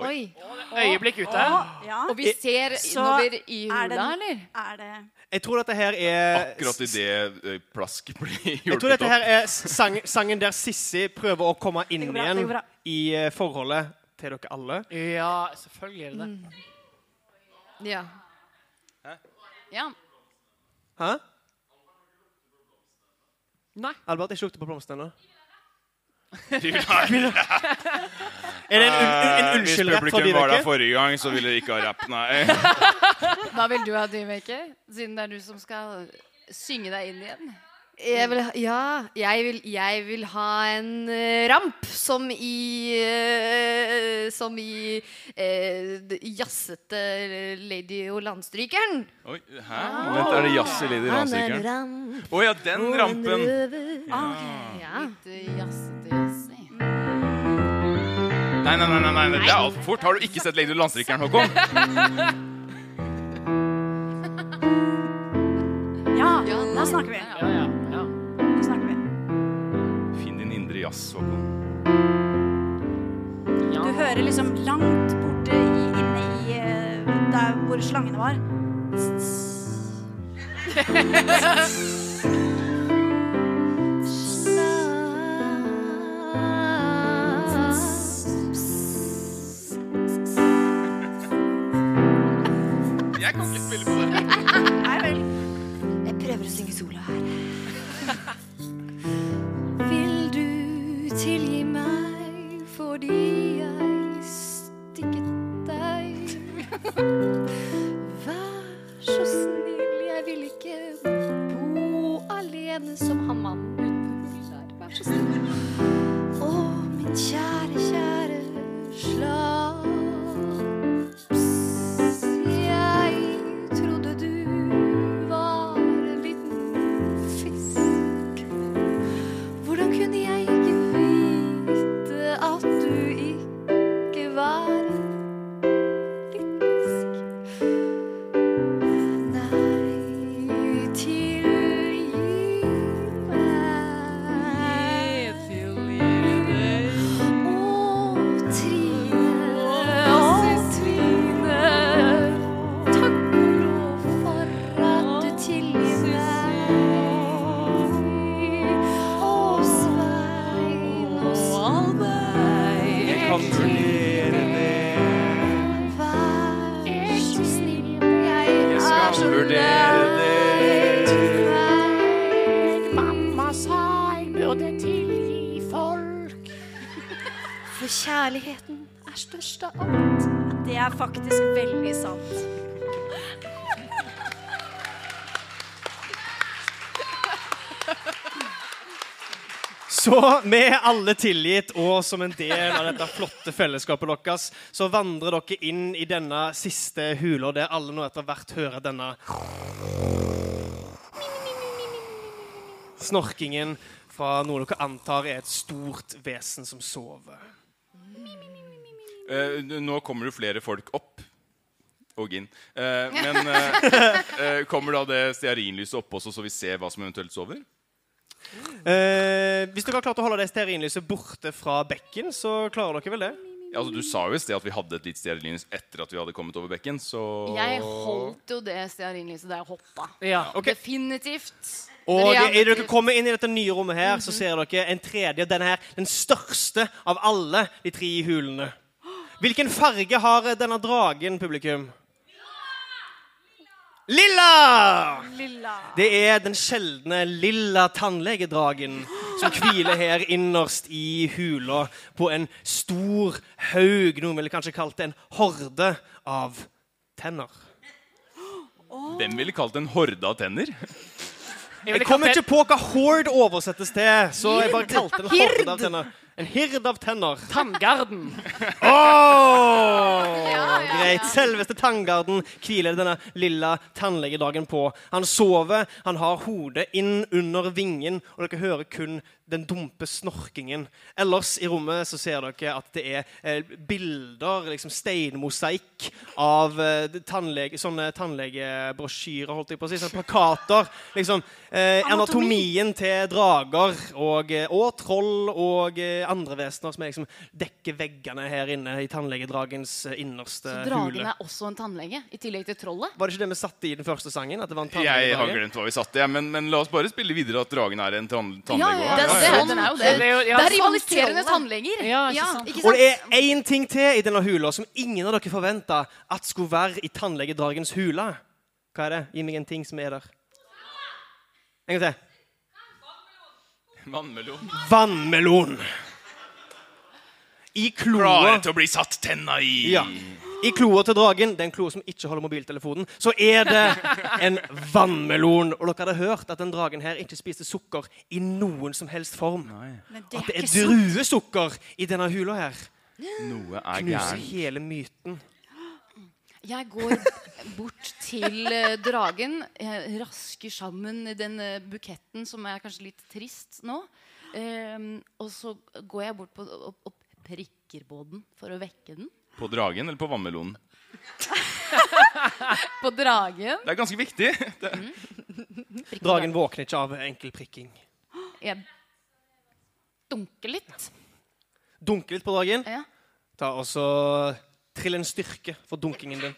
Oi.
Øyeblikk ute.
Ja,
Og vi ser
Så
innover i
er
hula,
det-
eller?
er det
Jeg tror dette her er
Akkurat idet eh, plask blir
Jeg tror
hjulpet
dette
opp.
her er sang, sangen der Sissy prøver å komme inn
går bra, det går
igjen
bra.
i eh, forholdet til dere alle.
Ja, selvfølgelig er det det.
Ja. Ja.
Hæ?
Nei.
Albert, ikke lukte på blomstene ennå.
Eh, Nei,
Er det en, un, un, en
eh, Hvis
unnskyld rett fra
publikum
de
var der
dere?
forrige gang, så ville de ikke ha rapp, nei.
Hva vil du ha, Dymaker? Siden det er du som skal synge deg inn igjen.
Jeg vil, ha- ja, jeg vil, jeg vil ha en eh, ramp som i eh, Som i eh, d- jazzete Lady og Landstrykeren.
Oi, hæ? Vent, er det jazz i Lady Landstrykeren? Å ja, den rampen.
Ja.
Litt eh, jazzete jazzy.
Nei, nei, nei, nei, nei, det er altfor fort. Har du ikke sett Lady Landstrykeren, Håkon?
Ja,
Ja,
nå snakker vi.
Ja, ja, ja.
Nå snakker vi.
Finn din indre jazz, Håkon.
Du hører liksom langt borte i, inne i eh, der hvor slangene var.
Jeg kan ikke spille på det.
Nei vel.
Jeg prøver å synge solo her. Vil du tilgi meg fordi jeg stikket deg? Vær så snill, jeg vil ikke bo alene som han mannen ute på hylla her. Vær så snill. Å, min kjære, kjære slaps. Jeg trodde du var en liten fisk. Hvordan kunne jeg ikke vite at du ikke var en liten fisk? Nei, tilgi meg. Å, Trine, å, Trine. Takk og lov for at du tilgir meg. Å, Svein og Svein. Vær så snill, jeg
Jeg
er
skal
så
vurdere det.
lei
Mamma sa jeg burde tilgi folk.
For kjærligheten er størst av alt.
Det er faktisk veldig sant.
Så vi er alle tilgitt, og som en del av dette flotte fellesskapet deres, så vandrer dere inn i denne siste hula der alle nå etter hvert hører denne snorkingen fra noe dere antar er et stort vesen som sover.
Eh, nå kommer det flere folk opp. Og inn. Eh, men eh, eh, kommer da det stearinlyset opp også, så vi ser hva som eventuelt sover?
Eh, hvis dere har klart å holde det stearinlyset borte fra bekken, så klarer dere vel det?
Ja, altså, du sa jo i sted at vi hadde et lite stearinlys etter at vi hadde kommet over bekken, så
Jeg holdt jo det stearinlyset da jeg hoppa.
Ja.
Ok.
Definitivt.
Og
Ja.
det, er dere kommer inn i dette nye rommet her, så ser dere en tredje. Denne her, den største av alle de tre hulene. Hvilken farge har denne dragen, publikum? Lilla!
Lilla.
Det er den sjeldne lilla tannlegedragen som hviler her innerst i hula på en stor haug, noen ville kanskje kalt det en horde av tenner.
Hvem ville kalt det en horde av tenner?
Jeg kom ikke på hva horde oversettes til, så jeg bare kalte det en
Hird.
horde av tenner. En hird av tenner.
Tanngarden.
Åh, Greit. Selveste tanngarden hviler denne lilla tannlegedagen på. Han sover, han har hodet inn under vingen, og dere hører kun den dumpe snorkingen. Ellers i rommet så ser dere at det er eh, bilder, liksom steinmosaikk, av eh, tannlege, sånne tannlegebrosjyrer, holdt jeg på å si. Sånne plakater. Liksom eh, anatomien til drager og, eh, og troll og eh, andre vesener som er liksom dekker veggene her inne i tannlegedragens eh, innerste
Dragen
hule.
er også en tannlege, i tillegg til trollet.
Var det ikke det vi satte i den første sangen? At det var en
Jeg har
tannlegedrage?
glemt hva vi satt i, men, men la oss bare spille videre at dragen er en tann tannlege.
ja,
også.
det er
Ja, ja.
sånn-
Den er jo
det.
Det er jo- ja,
Det er
sånn
rivaliserende
trollet.
tannleger.
Ja, ikke sant.
ikke
Og
sant?
det er én ting til i denne hula som ingen av dere forventa at skulle være i tannlegedragens hule. Hva er det? Gi meg en ting som er der. En gang til.
Vannmelon.
Vannmelon. I kloa
Klare til å bli satt tenna i.
Ja. I kloa til dragen, den kloa som ikke holder mobiltelefonen, så er det en vannmelon. Og dere hadde hørt at den dragen her ikke spiste sukker i noen som helst form.
Men det
At det
er
er
ikke sant.
druesukker i denne hula her.
Noe er
Knuser
gæren.
hele myten.
Jeg går bort til eh, dragen, jeg rasker sammen den eh, buketten som er kanskje litt trist nå. Ehm, og så går jeg bort på, og, og prikker på den for å vekke den.
På dragen eller på vannmelonen?
På dragen.
Det er ganske viktig. Det,
Dragen våkner ikke av enkel prikking.
Jeg dunker litt.
Dunke litt på dragen.
Ja.
Ta og så Trill en styrke for dunkingen din.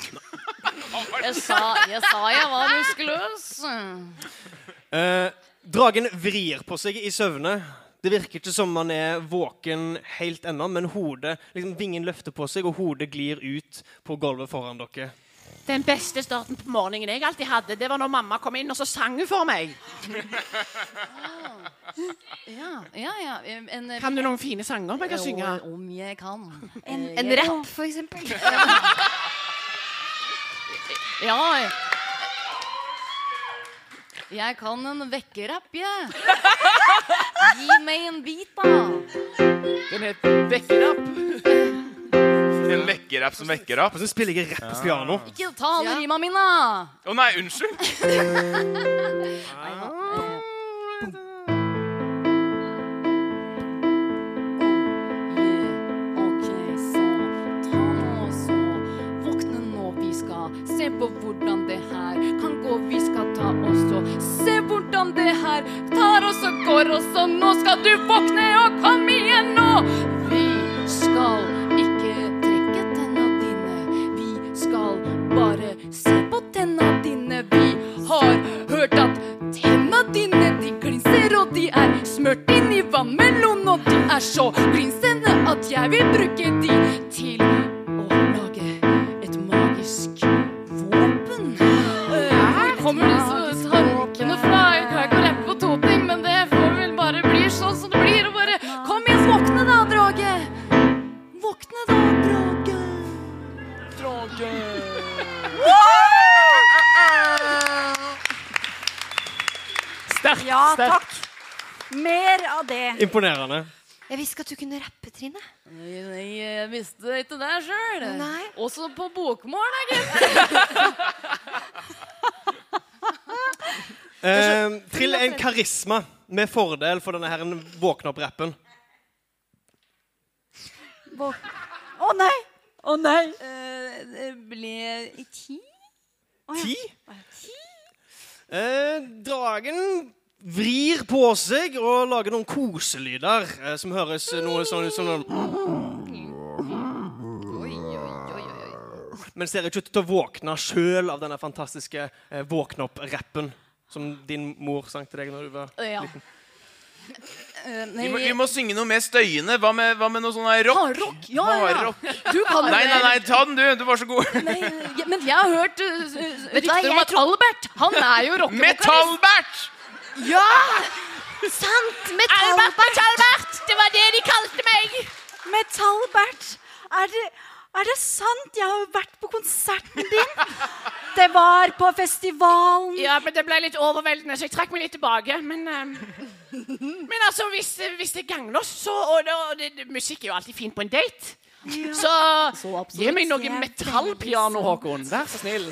Jeg sa jeg, sa jeg var muskuløs.
Eh, dragen vrir på seg i søvne. Det virker ikke som man er våken helt ennå, men hodet, liksom vingen løfter på seg, og hodet glir ut på gulvet foran dere.
Den beste starten på morgenen jeg alltid hadde, det var når mamma kom inn og så sang hun for meg.
Ja, ja, ja. em, En, eh,
Kan du noen fine sanger man kan synge?
Om jeg kan.
En,
Eh,
en
jeg-
rapp, for eksempel.
Ja. Jeg kan en vekkerapp, jeg. Gi meg en bit, da.
Den heter Vekkerapp.
en vekkerapp som vekker opp.
Og så spiller jeg rett på piano.
Ikke ta han rima mi, da.
Å nei, unnskyld!
Mm, Ok, så ta nå og så våkne nå. Vi skal se på hvordan det her kan gå. Vi skal ta oss og se hvordan det her tar oss og går oss. Og nå skal du våkne og kom igjen nå. Vi skal ikke trekke tenna dine. Vi skal bare se på tenna dine. Vi har hørt at tenna dine de glinser, og de er smurt inn i vannmelon. Og de er så glinsende at jeg vil bruke de til å lage et magisk våpen. Eh, Hvor kommer disse tankene fra? Jeg klarer ikke å rappe på to ting, men det får vel bare bli sånn som det blir. Og bare Kom igjen, våkne da, drage. Våkne da, drage.
Sterkt.
Ja,
sterkt.
takk. Mer av det.
Imponerende.
Jeg visste ikke at du kunne rappe, Trine.
Nei, jeg visste ikke det sjøl.
Nei.
Også på bokmål, da, gitt.
Eh, trill en karisma med fordel for denne her våkne opp-rappen.
Å nei! Å nei! Eh, det ble ti?
Ti? Eh, dragen vrir på seg og lager noen koselyder eh, som høres eh, noe sånn ut som noen Men ser ikke ut til å våkne sjøl av denne fantastiske eh, våkne opp-rappen som din mor sang til deg når du var
Ja. Eh,
Vi må, vi
nei,
må synge noe mer støyende. Hva med, hva med noe sånn her rock?
hardrock. Ja, ja.
Hardrock.
Du kan jo
Nei, nei,
det.
nei, ta den, du. Du var så god.
Nei, ja, men jeg har hørt uh, uh,
hva,
rykter
jeg
om at Albert han er jo rockevokalist.
Metallbert!
Sant! Metallbert!
Albert! Det var det de kalte meg!
Metallbert, er det, er det sant? Jeg har jo vært på konserten din. Det var på festivalen.
Ja, men det ble litt overveldende, så jeg trakk meg litt tilbake. Men, eh, men altså, hvis, hvis det gagner oss, så og, det- og det, det, Musikk er jo alltid fint på en date. Så, gi meg noe metallpiano, Håkon. Vær så snill.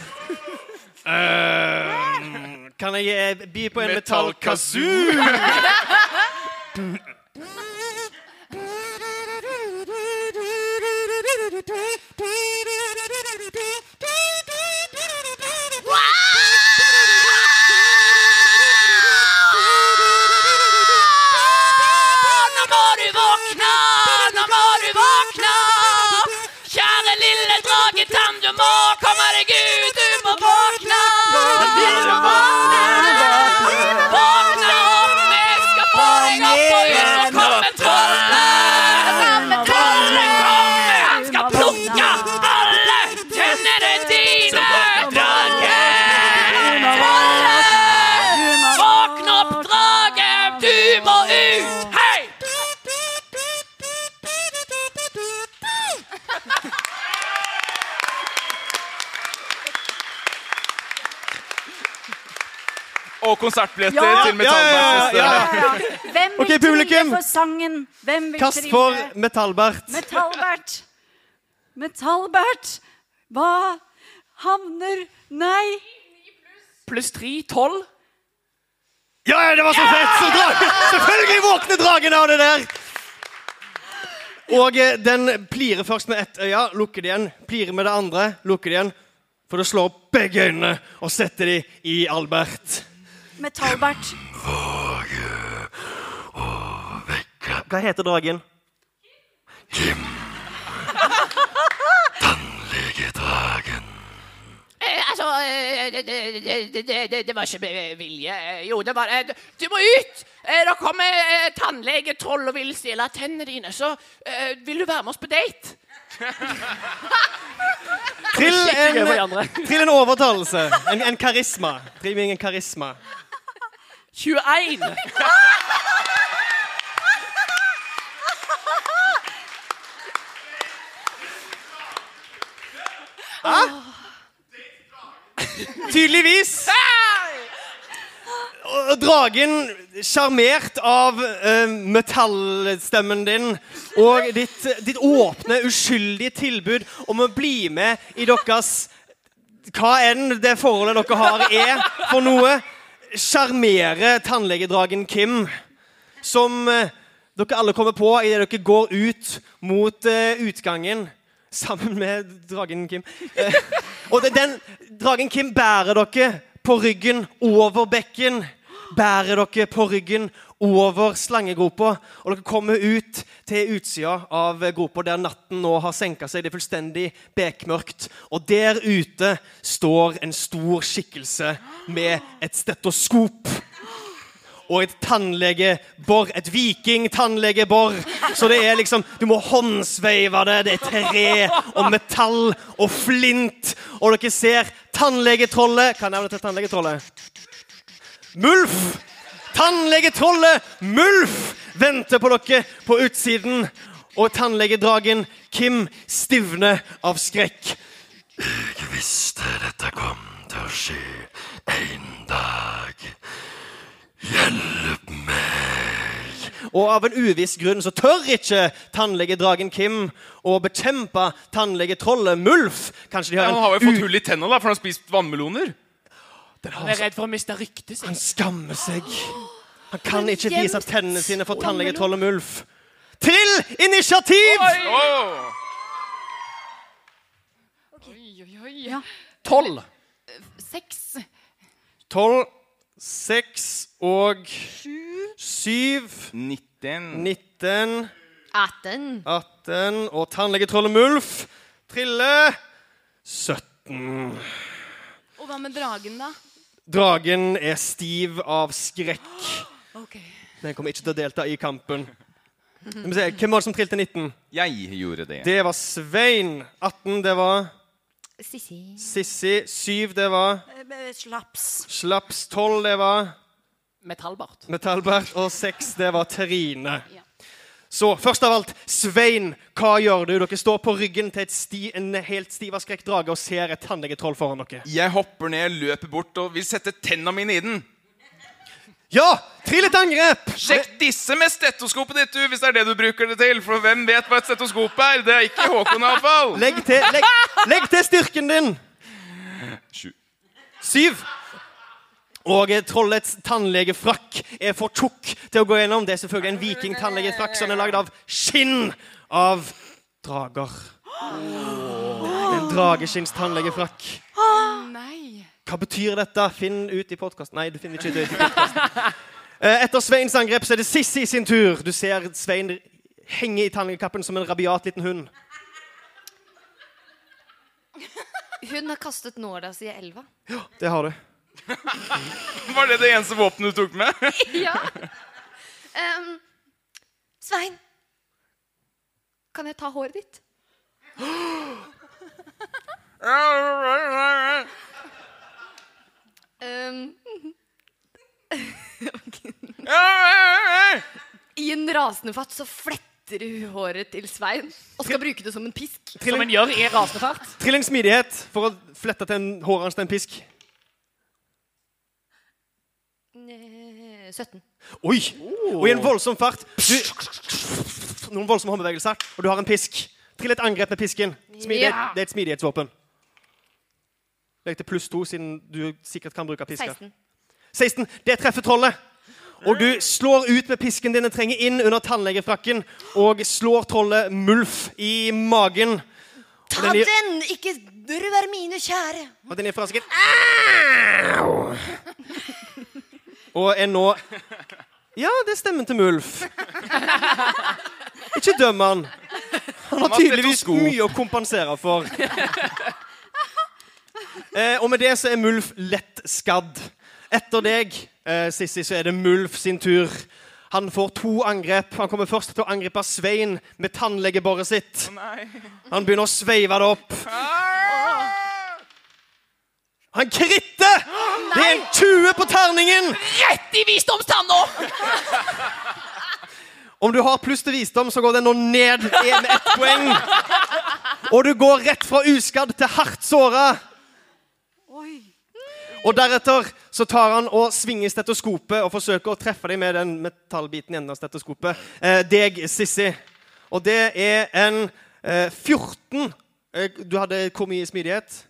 Kan jeg eh, by på en
Metallkazoo!
metallkazoo?
Nå må du våkne, nå må du våkne. Kjære lille dragetann, du må komme deg ut, du må våkne. Du må våkne, våkne opp, vi skal få deg opp og ut. Nå kommer trollet, trollet kommer, han skal plukke alle tennene dine. Dragen, trollet, våkne opp, dragen, du må ut. Hei!
Og konsertbilletter
Ja.
til
Ja, ja, ja,
Metallbert.
ja.
Hvem vil
Ok, publikum.
trille for sangen? Hvem vil
Kast
trille?
for metallbert.
Metallbert. Metallbert. Hva havner Nei.
Pluss tre, tolv.
Ja, ja, det var så fett! Så dra- Selvfølgelig våkner dragen av det der! Og eh, den plirer først med ett øye, lukker det igjen. Plirer med det andre, lukker det igjen. For det slår opp begge øynene og setter de i Albert.
Metallbert.
Hva heter dragen?
Eh, altså eh, det, det, det- det, det, det, det var ikke med vilje. Eh, Jo, det var eh, Du du må ut! Eh, Da kommer eh, tannlegetroll og vil stjele tennene dine. Så eh, vil du være med oss på date?
Trill en,
Prøver de andre.
trill en overtalelse. En, en karisma. Trill ingen karisma.
21.
Tydeligvis. Og dragen, sjarmert av eh, metallstemmen din og ditt, ditt åpne, uskyldige tilbud om å bli med i deres Hva enn det forholdet dere har, er for noe, sjarmerer tannlegedragen Kim, som eh, dere alle kommer på idet dere går ut mot eh, utgangen sammen med dragen Kim. Eh, og det- den dragen Kim bærer dere på ryggen over bekken. Bærer dere på ryggen over slangegropa. Og dere kommer ut til utsida av gropa der natten nå har senka seg. Det er fullstendig bekmørkt. Og der ute står en stor skikkelse med et stetoskop og et tannlegebor. Et vikingtannlegebor. Så det er liksom Du må håndsveive det. Det er tre og metall og flint. Og dere ser tannlegetrollet Hva er navnet til tannlegetrollet? Mulf! Tannlegetrollet Mulf venter på dere på utsiden. Og tannlegedragen Kim stivner av skrekk.
Jeg visste dette kom til å skje en dag.
Og av en uviss grunn så tør ikke tannlegedragen Kim å bekjempe tannlegetrollet Mulf. Kanskje de har
Ja,
en
han har jo fått hull i tenna, da, for han har spist vannmeloner.
Jeg er redd for å miste ryktet sitt.
Han skammer seg. Han kan ikke vise tennene sine for tannlegetrollet Mulf. Trill initiativ!
Åh.
Oi, oi, oi.
Tolv.
Seks.
Tolv, seks og syv,
19.
19,
Atten.
18 og tannlegetrollet Mulf triller 17.
Og hva med dragen, da?
Dragen er stiv av skrekk. Den kommer ikke til å delta i kampen. Skal vi se, Hvem var det som trilte 19?
Jeg gjorde det.
Det var Svein. 18, det var
Sissi.
Sissi. 7, det var
Eh, Slaps.
Slaps. 12, det var
Metallbart.
Metallbert. Og 6, det var Trine. Så først av alt, Svein, hva gjør du? Dere står på ryggen til et sti, en helt stiv av skrekk drage og ser et tannlegetroll foran dere.
Jeg hopper ned, løper bort og vil sette tenna mine i den.
Ja! Trill et angrep!
Sjekk disse med stetoskopet ditt, du, hvis det er det du bruker det til. For hvem vet hva et stetoskop er? Det er ikke Håkon, iallfall.
Legg til, legg, legg til styrken din!
Sju.
Syv. Og eh, trollets tannlegefrakk er for tjukk til å gå gjennom. Det er selvfølgelig en vikingtannlegefrakk som er lagd av skinn av drager. En drageskins tannlegefrakk. Hva betyr dette? Finn ut i podkasten. Nei, du finner ikke det ut i podkasten. Etter Sveins angrep så er det Sissi sin tur. Du ser Svein henge i tannlegekappen som en rabiat liten hund.
Hun har kastet nåla si i elva.
Det har du.
Var det det eneste våpenet du tok med?
Ja. Em, Svein, kan jeg ta håret ditt? Em, I en rasende fatt så fletter hun håret til Svein og skal bruke det som en pisk.
Som en gjør i rasende fart.
Trill en smidighet for å flette til en håret hans til en pisk.
Eh, 17.
Oi! Og i en voldsom fart du, Noen voldsomme håndbevegelser, og du har en pisk. Trill et angrep med pisken. Smidighet.
Ja.
Det er et smidighetsvåpen. Legg til pluss to, siden du sikkert kan bruke pisker.
16.
16. Det treffer trollet. Og du slår ut med pisken din og trenger inn under tannlegefrakken og slår trollet Mulf i magen. Og
Ta
den gir-
den! Ikke rør mine kjære.
Og den er fra seg Og er nå Ja, det er stemmen til Mulf. Ikke døm han. Han har
har
tydeligvis
stetoskop.
mye å kompensere for. Eh, og med det så er Mulf lett skadd. Etter deg, eh, Sissy, så er det Mulf sin tur. Han får to angrep. Han kommer først til å angripe Svein med tannlegebåret sitt. Han begynner å sveive det opp. Han kritter! Det er en 20 på terningen!
Rett i visdomstanna!
Om du har pluss til visdom, så går den nå ned med ett poeng. Og du går rett fra uskadd til hardt såra. Og deretter så tar han og svinger stetoskopet og forsøker å treffe deg med den metallbiten i enden av stetoskopet. Eh, deg, Sissy. Og det er en eh, 14 eh, Du hadde hvor mye smidighet?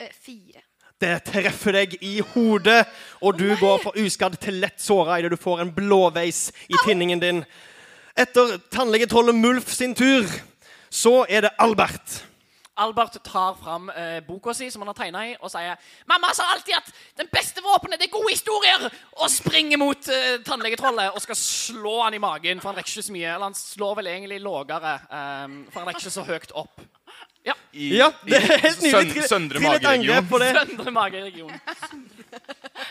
Eh, 4.
Det treffer deg i hodet, og du går fra uskadd til lett såra idet du får en blåveis i tinningen din. Etter tannlegetrollet Mulf sin tur, så er det Albert.
Albert tar fram eh, boka si som han har tegna i, og sier Mamma sa alltid at den beste våpenet det er gode historier! Og springer mot eh, tannlegetrollet og skal slå han i magen, for han rekker ikke så mye. Eller han slår vel egentlig lågere, eh, for han rekker ikke så høyt opp.
I,
Ja, det er helt
i
nydelig.
søn-
Til-
Søndre
til et
mageregion.
angrep på det.
Søndre mageregion.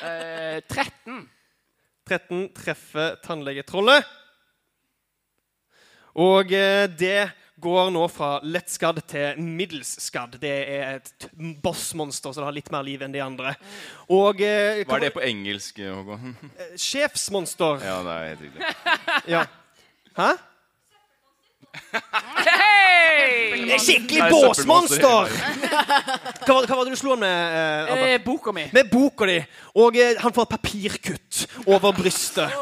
Eh, 13.
13 treffer tannlegetrollet. Og eh, det går nå fra lett skadd til middels skadd. Det er et t- bossmonster, så det har litt mer liv enn de andre. Og eh,
Hva er det på engelsk, Håkon?
sjefsmonster.
Ja, det er helt riktig.
Ja. Hæ?
Hei!
Det er skikkelig
Nei,
båsmonster!
søppelmonster.
Hva, var- hva var det du slo han med? eh, Abba?
Eh, boka mi.
Med boka di. Og eh, han får et papirkutt over brystet.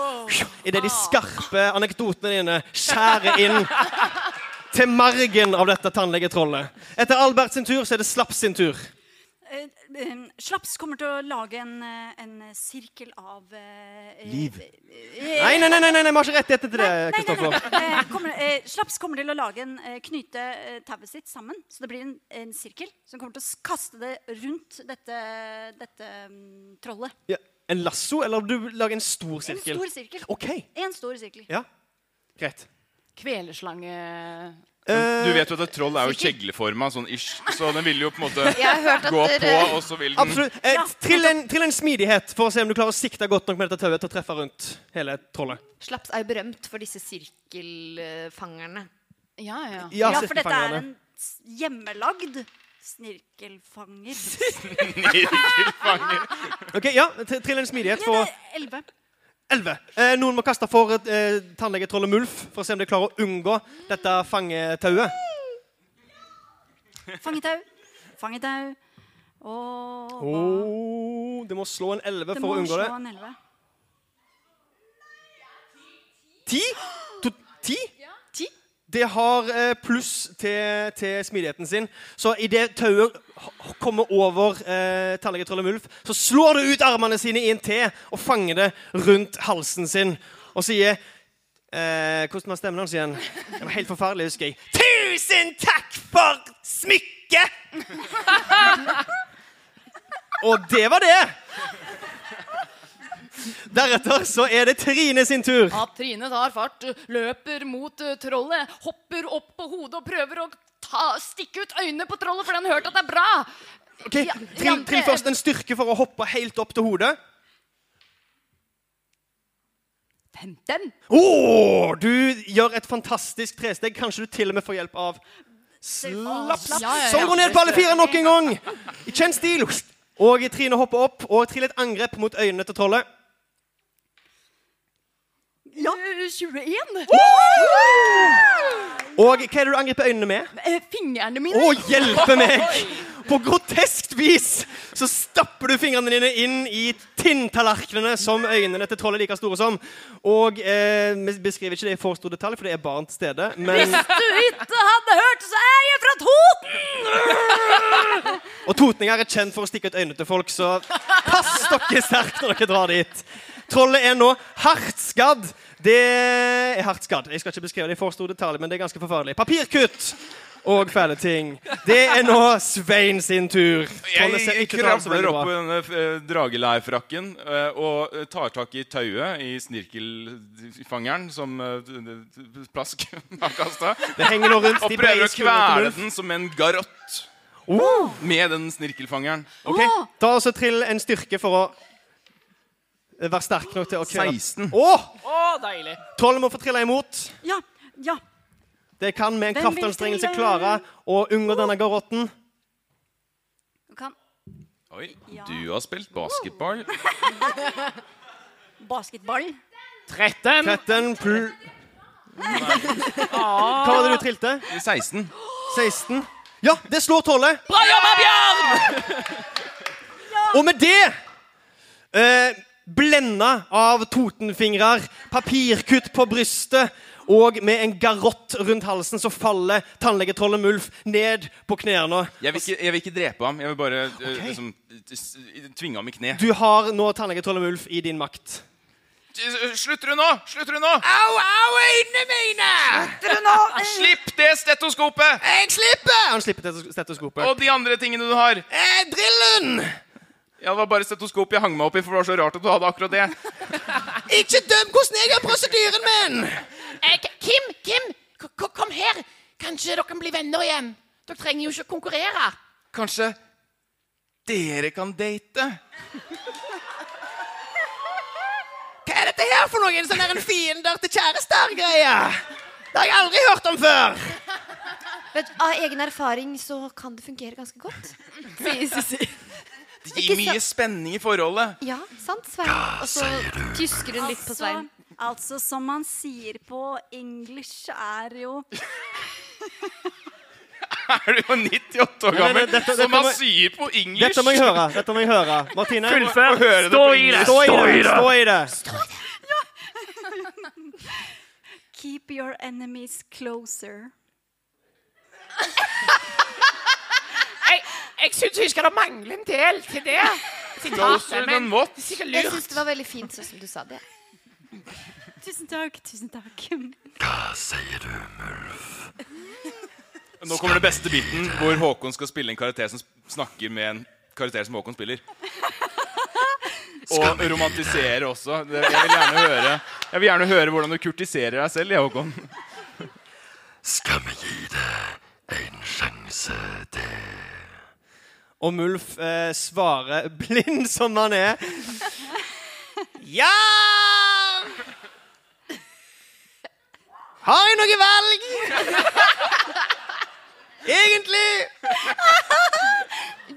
Idet de skarpe anekdotene dine skjærer inn til margen av dette tannlegetrollet. Etter Albert sin tur, så er det Slapp sin tur.
Eh, eh, Slaps kommer til å lage en, eh, en sirkel av eh, Liv.
Nei, nei, nei, nei, nei, vi har ikke rettigheter til det, Kristoffer.
Eh, kommer, eh, slaps kommer til å lage en, eh, knyte eh, tauet sitt sammen, så det blir en, en sirkel som kommer til å s- kaste det rundt dette, dette mm, trollet.
Ja. En lasso, eller du lager en stor
En
sirkel?
stor sirkel.
OK.
En stor sirkel.
Ja. Greit.
Kveleslange
Men Du
Eh,
vet jo at et troll er jo kjegleforma, sånn ish. Så den vil jo på en måte
Jeg har hørt at
gå på,
dere-
og så vil den
Absolutt. Eh, trill, en, trill en smidighet for å se om du klarer å sikte godt nok med dette tauet til å treffe rundt hele trollet.
Slaps er jo berømt for disse sirkelfangerne.
Ja, ja.
Ja, for dette er
sirkelfangerne.
en s- hjemmelagd snirkelfanger.
Ok, ja, tr- Trill en smidighet for
Elleve.
11. Eh, noen må kaste for eh, tannlegetrollet Mulf for å se om de klarer å unngå dette fangetauet.
Fangetau. Fangetau. Og
Oh, du må slå en 11
Det
for
må
å unngå
slå
det.
en elleve.
10? To, 10? Det har eh, pluss til, til smidigheten sin. Så idet tauet h- kommer over eh, tannlegetrollet Mulf, så slår det ut armene sine i en T og fanger det rundt halsen sin og sier eh, Hvordan var stemmen hans igjen? Det var helt forferdelig, husker jeg. Tusen takk for smykket! og det var det. Deretter så er det Trine sin tur.
Ja, Trine tar fart, løper mot eh, trollet, hopper opp på hodet og prøver å ta, stikke ut øynene på trollet, for den har hørt at det er bra.
Ok, trill,
Rampe-
trill først en styrke for å hoppe helt opp til hodet.
15.
Åh, du gjør et fantastisk tresteg. Kanskje du til og med får hjelp av Slaps,
Ja, ja, ja.
som går ned på alle fire nok en gang. I kjent stil. Og Trine hopper opp og trill et angrep mot øynene til trollet.
Ja. 21.
Og hva er det du angriper øynene med?
Eh, Fingrene
Å,
mine.
hjelpe meg! På groteskt vis så stapper du fingrene dine inn i tinntallerkenene som øynene til trollet er like store som. Og eh, vi beskriver ikke det i for stor detalj, for det er barn til stede. Men
Du ikke hadde hørt, så er jeg fra Toten!
Og totninger er kjent for å stikke ut øynene til folk, så pass dere sterkt når dere drar dit. Trollet er nå hardt skadd. Det er hardt skadd. Jeg skal ikke beskrive det i for stor detalj, men det er ganske forferdelig. Papirkutt og fæle ting. Det er nå Svein sin tur. Trollet ser
Jeg
ikke ut til å ha det så
kravler
veldig
opp i
bra.
denne eh, drageleirfrakken eh, og eh, tar tak i tauet i snirkelfangeren som eh, d- d- Plask har kasta.
Det henger nå rundt
Og
de
prøver
brede
å kvele
skuldrene til Ulf.
den som en garott
Oh,
med den snirkelfangeren.
ok. Ta også trill en styrke for å være sterk nok til å kvele
16.
Åh,
Å, deilig.
Trollet må få trille imot.
Ja, ja.
Det kan med en
Hvem vil
kraftanstrengelse
trille?
klare å unngå denne garotten.
Du kan
Oi, du har spilt basketball.
basketball.
13.
13 pl... Hva var det du trilte?
16.
16? Ja, det slår tollet. Bra jobba, Bjørn! Og med det eh, Blenda av totenfingrer, papirkutt på brystet og med en garott rundt halsen så faller tannlegetrollet Mulf ned på knærne.
Jeg vil, ikke, jeg vil ikke drepe ham. Jeg vil bare eh, liksom, s- tvinge ham i kne.
Du har nå tannlegetrollet Mulf i din makt.
Slutter du nå? Slutter du nå? Au, au, øynene mine! Slipp det stetoskopet!
Jeg slipper! Han slipper stetos- stetoskopet.
Og de andre tingene du har.
Eh, drillen!
Ja, det var bare stetoskop jeg hang meg opp i, for det var så rart at du hadde akkurat det.
Ikke døm hvordan jeg har prosedyren min!
Eh, K- Kim, Kim, k- k- kom her. Kanskje dere kan bli venner igjen. Dere trenger jo ikke å konkurrere.
Kanskje dere kan date?
Hva er dette her for noen sånn der en fiender til kjærester?
Det har jeg aldri hørt om før!
Vet, du, av egen erfaring så kan det fungere ganske godt. Sier Sissy.
Det gir mye spenning i forholdet.
Ja, sant, Svein? Og så tysker hun litt på Svein.
Altså, altså, som man sier på engelsk, er jo
Er du jo 98 år
Nei, nei,
gammel,
dette- dette
som man
må-
sier på engelsk?
Dette må jeg høre. dette må jeg høre. Martine,
Fullfør.
høre det
Stå
på
i det.
stå i det! Stå i det.
Keep your enemies closer.
Jeg, jeg syns vi skal da mangle en del til det.
Closer
Sitatet,
than
men det
what?
er sikkert
Jeg
lurt.
syns det var veldig fint sånn som du sa det.
Tusen takk, tusen takk.
Hva sier du, Mulf?
Nå kommer den beste biten hvor Håkon skal spille en karakter som snakker med en karakter som Håkon spiller. Og romantisere også. Det- Jeg vil gjerne høre Jeg vil gjerne høre hvordan du kurtiserer deg selv, jeg, Håkon.
Skal vi gi det sjanse, det.
Om Ulf eh, svarer blind som han er. Ja! Har jeg noe valg? Egentlig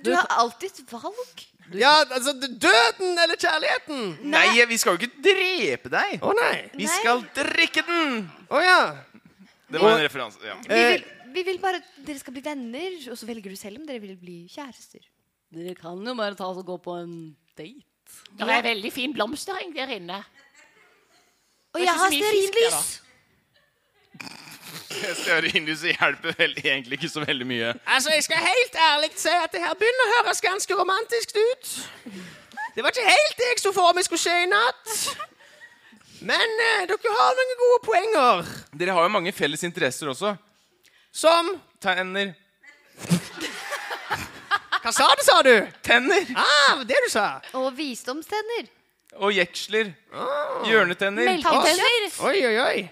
Du har alltid et valg.
Ja, altså døden eller kjærligheten?
Nei, vi skal jo ikke drepe deg.
Å nei.
Vi skal drikke den!
Å ja.
Det var en referanse. ja.
Eh.
Vi vil, vi vil bare at dere skal bli venner, og så velger du selv om dere vil bli kjærester.
Dere kan jo bare ta oss og gå på en date.
Det er veldig fin blomstereng der inne.
Og
Det er
jeg
ikke så
har
mye
stearinlys!
Stearinlyset hjelper vel egentlig ikke så veldig mye.
Altså, jeg skal helt ærlig si at det her begynner å høres ganske romantisk ut. Det var ikke helt det jeg så for meg skulle skje i natt.
Men eh, dere har noen gode poenger.
Dere har jo mange felles interesser også.
Som
Tenner.
Hva sa du, sa du?
Tenner!
Ah, det du sa.
Og visdomstenner.
Og jeksler. Hjørnetenner.
Tanntenner.
Oi, oi, oi.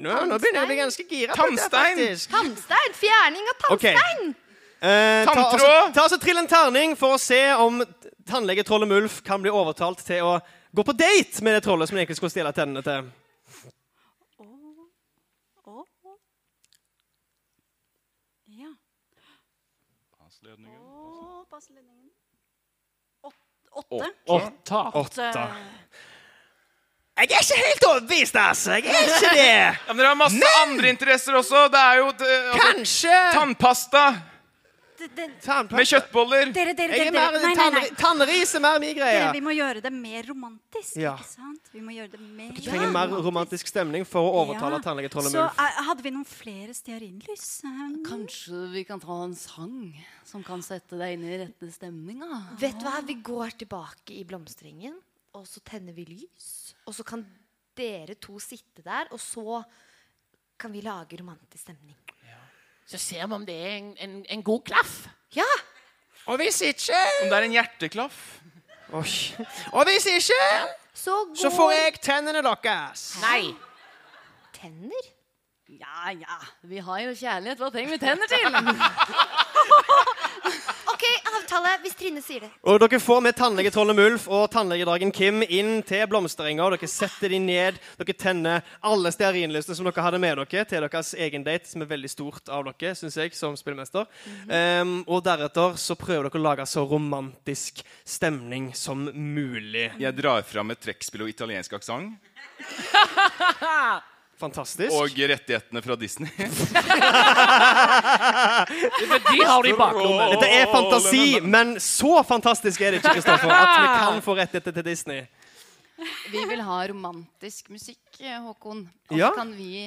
Nå, nå begynner jeg å bli ganske gira. på dette,
Tannstein.
faktisk.
Tannstein! Fjerning av
Ok.
tannstein!
Eh, ta,
Tanntråd.
altså, ta altså Trill en terning for å se om tannlegetrollet Mulf kan bli overtalt til å gå på date med det trollet som han egentlig skulle stjele tennene til.
Ja. Å, passledningen. Åt- Åtte. eh,
Åtta. Jeg er ikke helt overbevist, altså. Jeg er
Ja,
ikke det.
men dere har masse andre interesser også. Det er jo det, altså,
Kanskje
tannpasta
Det- det-
med kjøttboller.
Dere, dere,
Jeg
dere.
er mer,
dere. Nei, nei, nei.
tannri- Tannris er mer min greie.
Dere, vi må gjøre det mer romantisk,
Ja.
ikke sant? Vi må gjøre det mer
Vi trenger mer romantisk stemning for å overtale
Ja.
tannlegetrollet
Så
Mulf.
eh, hadde vi noen flere stearinlys? Um,
Kanskje vi kan ta en sang som kan sette deg inn i rette stemninga?
Vet du hva, vi går tilbake i blomstringen, og så tenner vi lys. Og så kan dere to sitte der, og så kan vi lage romantisk stemning.
Så ser vi om det er en, en, en god klaff.
Ja!
Og hvis ikke
Om det er en hjerteklaff.
Oi. Og hvis ikke,
Så går
så får jeg tennene deres.
Nei.
tenner.
Ja, ja. Vi har jo kjærlighet. Hva trenger vi tenner til?
OK, avtale hvis Trine sier det.
Og dere får med tannlegetrollet Mulf og tannlegedragen Kim inn til blomsterenga. og Dere setter de ned, dere tenner alle stearinlysene som dere hadde med dere til deres egen date, som er veldig stort av dere, synes jeg, som spillmester. Ehm, og deretter så prøver dere å lage så romantisk stemning som mulig.
Jeg drar fram et trekkspill og italiensk aksent.
Fantastisk.
Og rettighetene fra Disney.
Men de har de baklomme.
dette er fantasi, men så fantastisk er det ikke, Kristoffer, at vi kan få rettigheter til Disney.
Vi vil ha romantisk musikk, eh, Håkon. Og
Ja.
så kan vi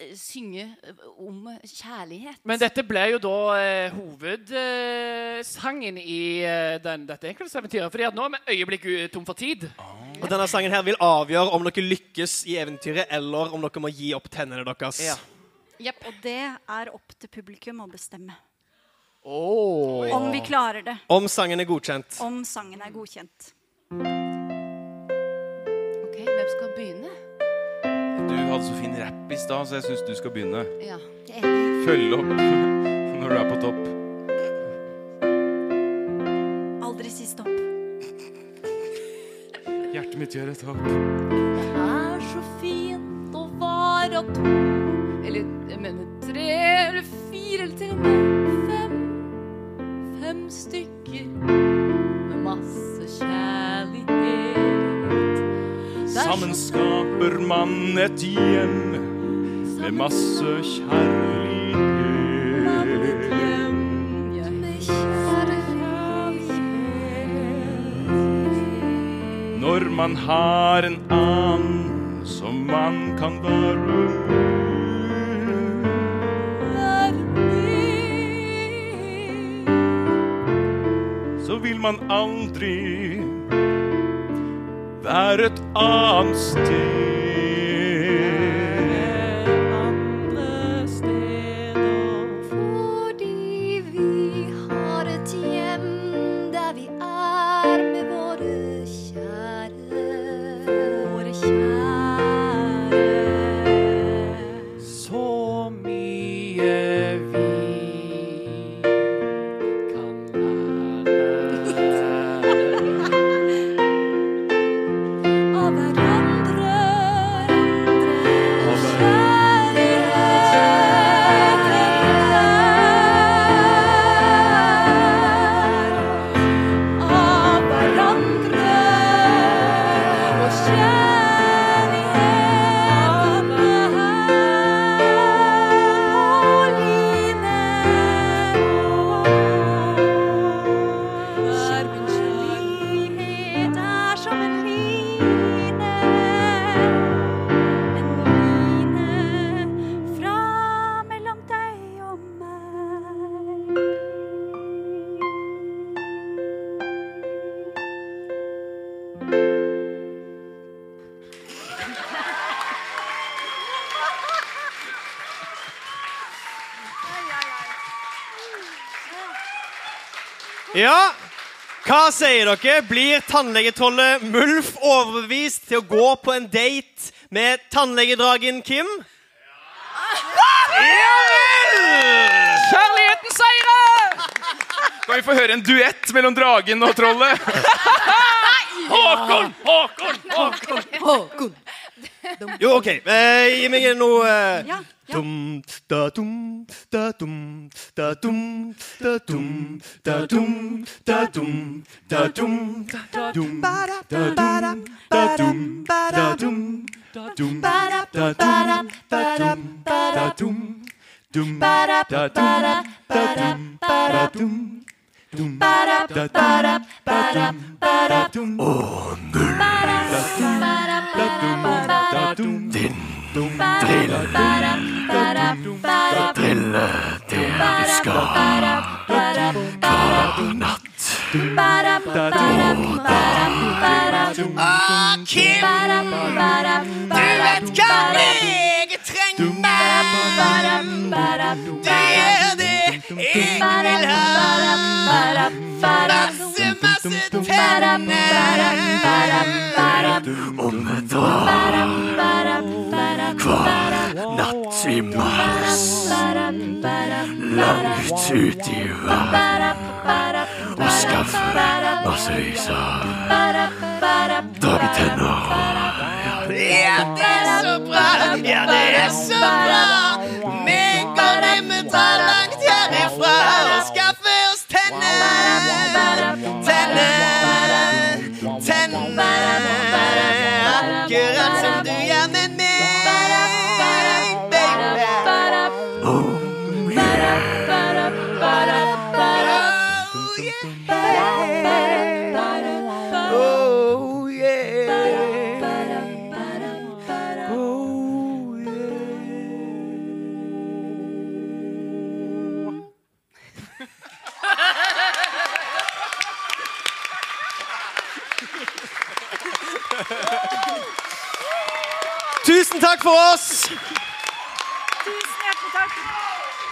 eh, synge eh, om kjærlighet.
Men dette ble jo da eh, hovedsangen i eh, den, dette enkeltseventyret. Fordi at nå er vi øyeblikk u- tom for tid.
Og denne sangen her vil avgjøre om dere lykkes i eventyret, eller om dere må gi opp tennene deres.
Og det er opp til publikum å bestemme.
Oh.
Om vi klarer det.
Om sangen er godkjent.
Om sangen er godkjent.
Ok, hvem skal begynne?
Du hadde så fin rapp i stad, så jeg syns du skal begynne.
Ja.
Følge opp når du er på topp.
Aldri si stopp.
Hjertet mitt gjør et hopp.
er så fint å være to Eller jeg mener tre eller fire eller til og med fem Fem stykker med masse kjærlighet Der-
Sammen skaper man et hjem med masse kjærlighet. Når man har en annen som man kan være med. Så vil man aldri være et annet sted.
Fordi vi har et hjem der vi er med våre kjære. Våre kjære.
Så mye vi
Ja, hva sier dere? Blir tannlegetrollet Mulf overbevist til å gå på en date med tannlegedragen Kim? Ja vel!
Kjærligheten seirer!
Kan vi få høre en duett mellom dragen og trollet? Håkon! Håkon! Håkon!
Jo, OK. Eh, gi meg noe
Ja,
eh.
ja.
Dum, da, dum, da, dum, da, dum, da, dum, da, dum, da, dum, da, dum, da, dum, da, dum, da, dum, da, dum, da, dum, da, dum, da, dum, da, dum, dum, da, dum, da, dum, da, dum, dum, da, dum, da, dum, da, dum. Da, dum, da, dum, da, dum,
Din
dum,
drill,
da, dum, da, dum.
drille det du skal. Hver natt.
Ah, Kim!
Du vet hva jeg trenger. Det er det jeg vil ha. Masse, masse tenner.
Om et år. Hver natt i mars. Langt ut i verden. Og skaffer massevis av dragetenner.
Ja, det er så bra. Ja, det er så bra. Vi går hjemme fra langt herifra og skaffer oss tenner. Tenner, tenner. Akkurat som du gjør med meg, baby. Oh, yeah. Oh, yeah.
Tusen takk for oss!
Tusen hjertelig takk.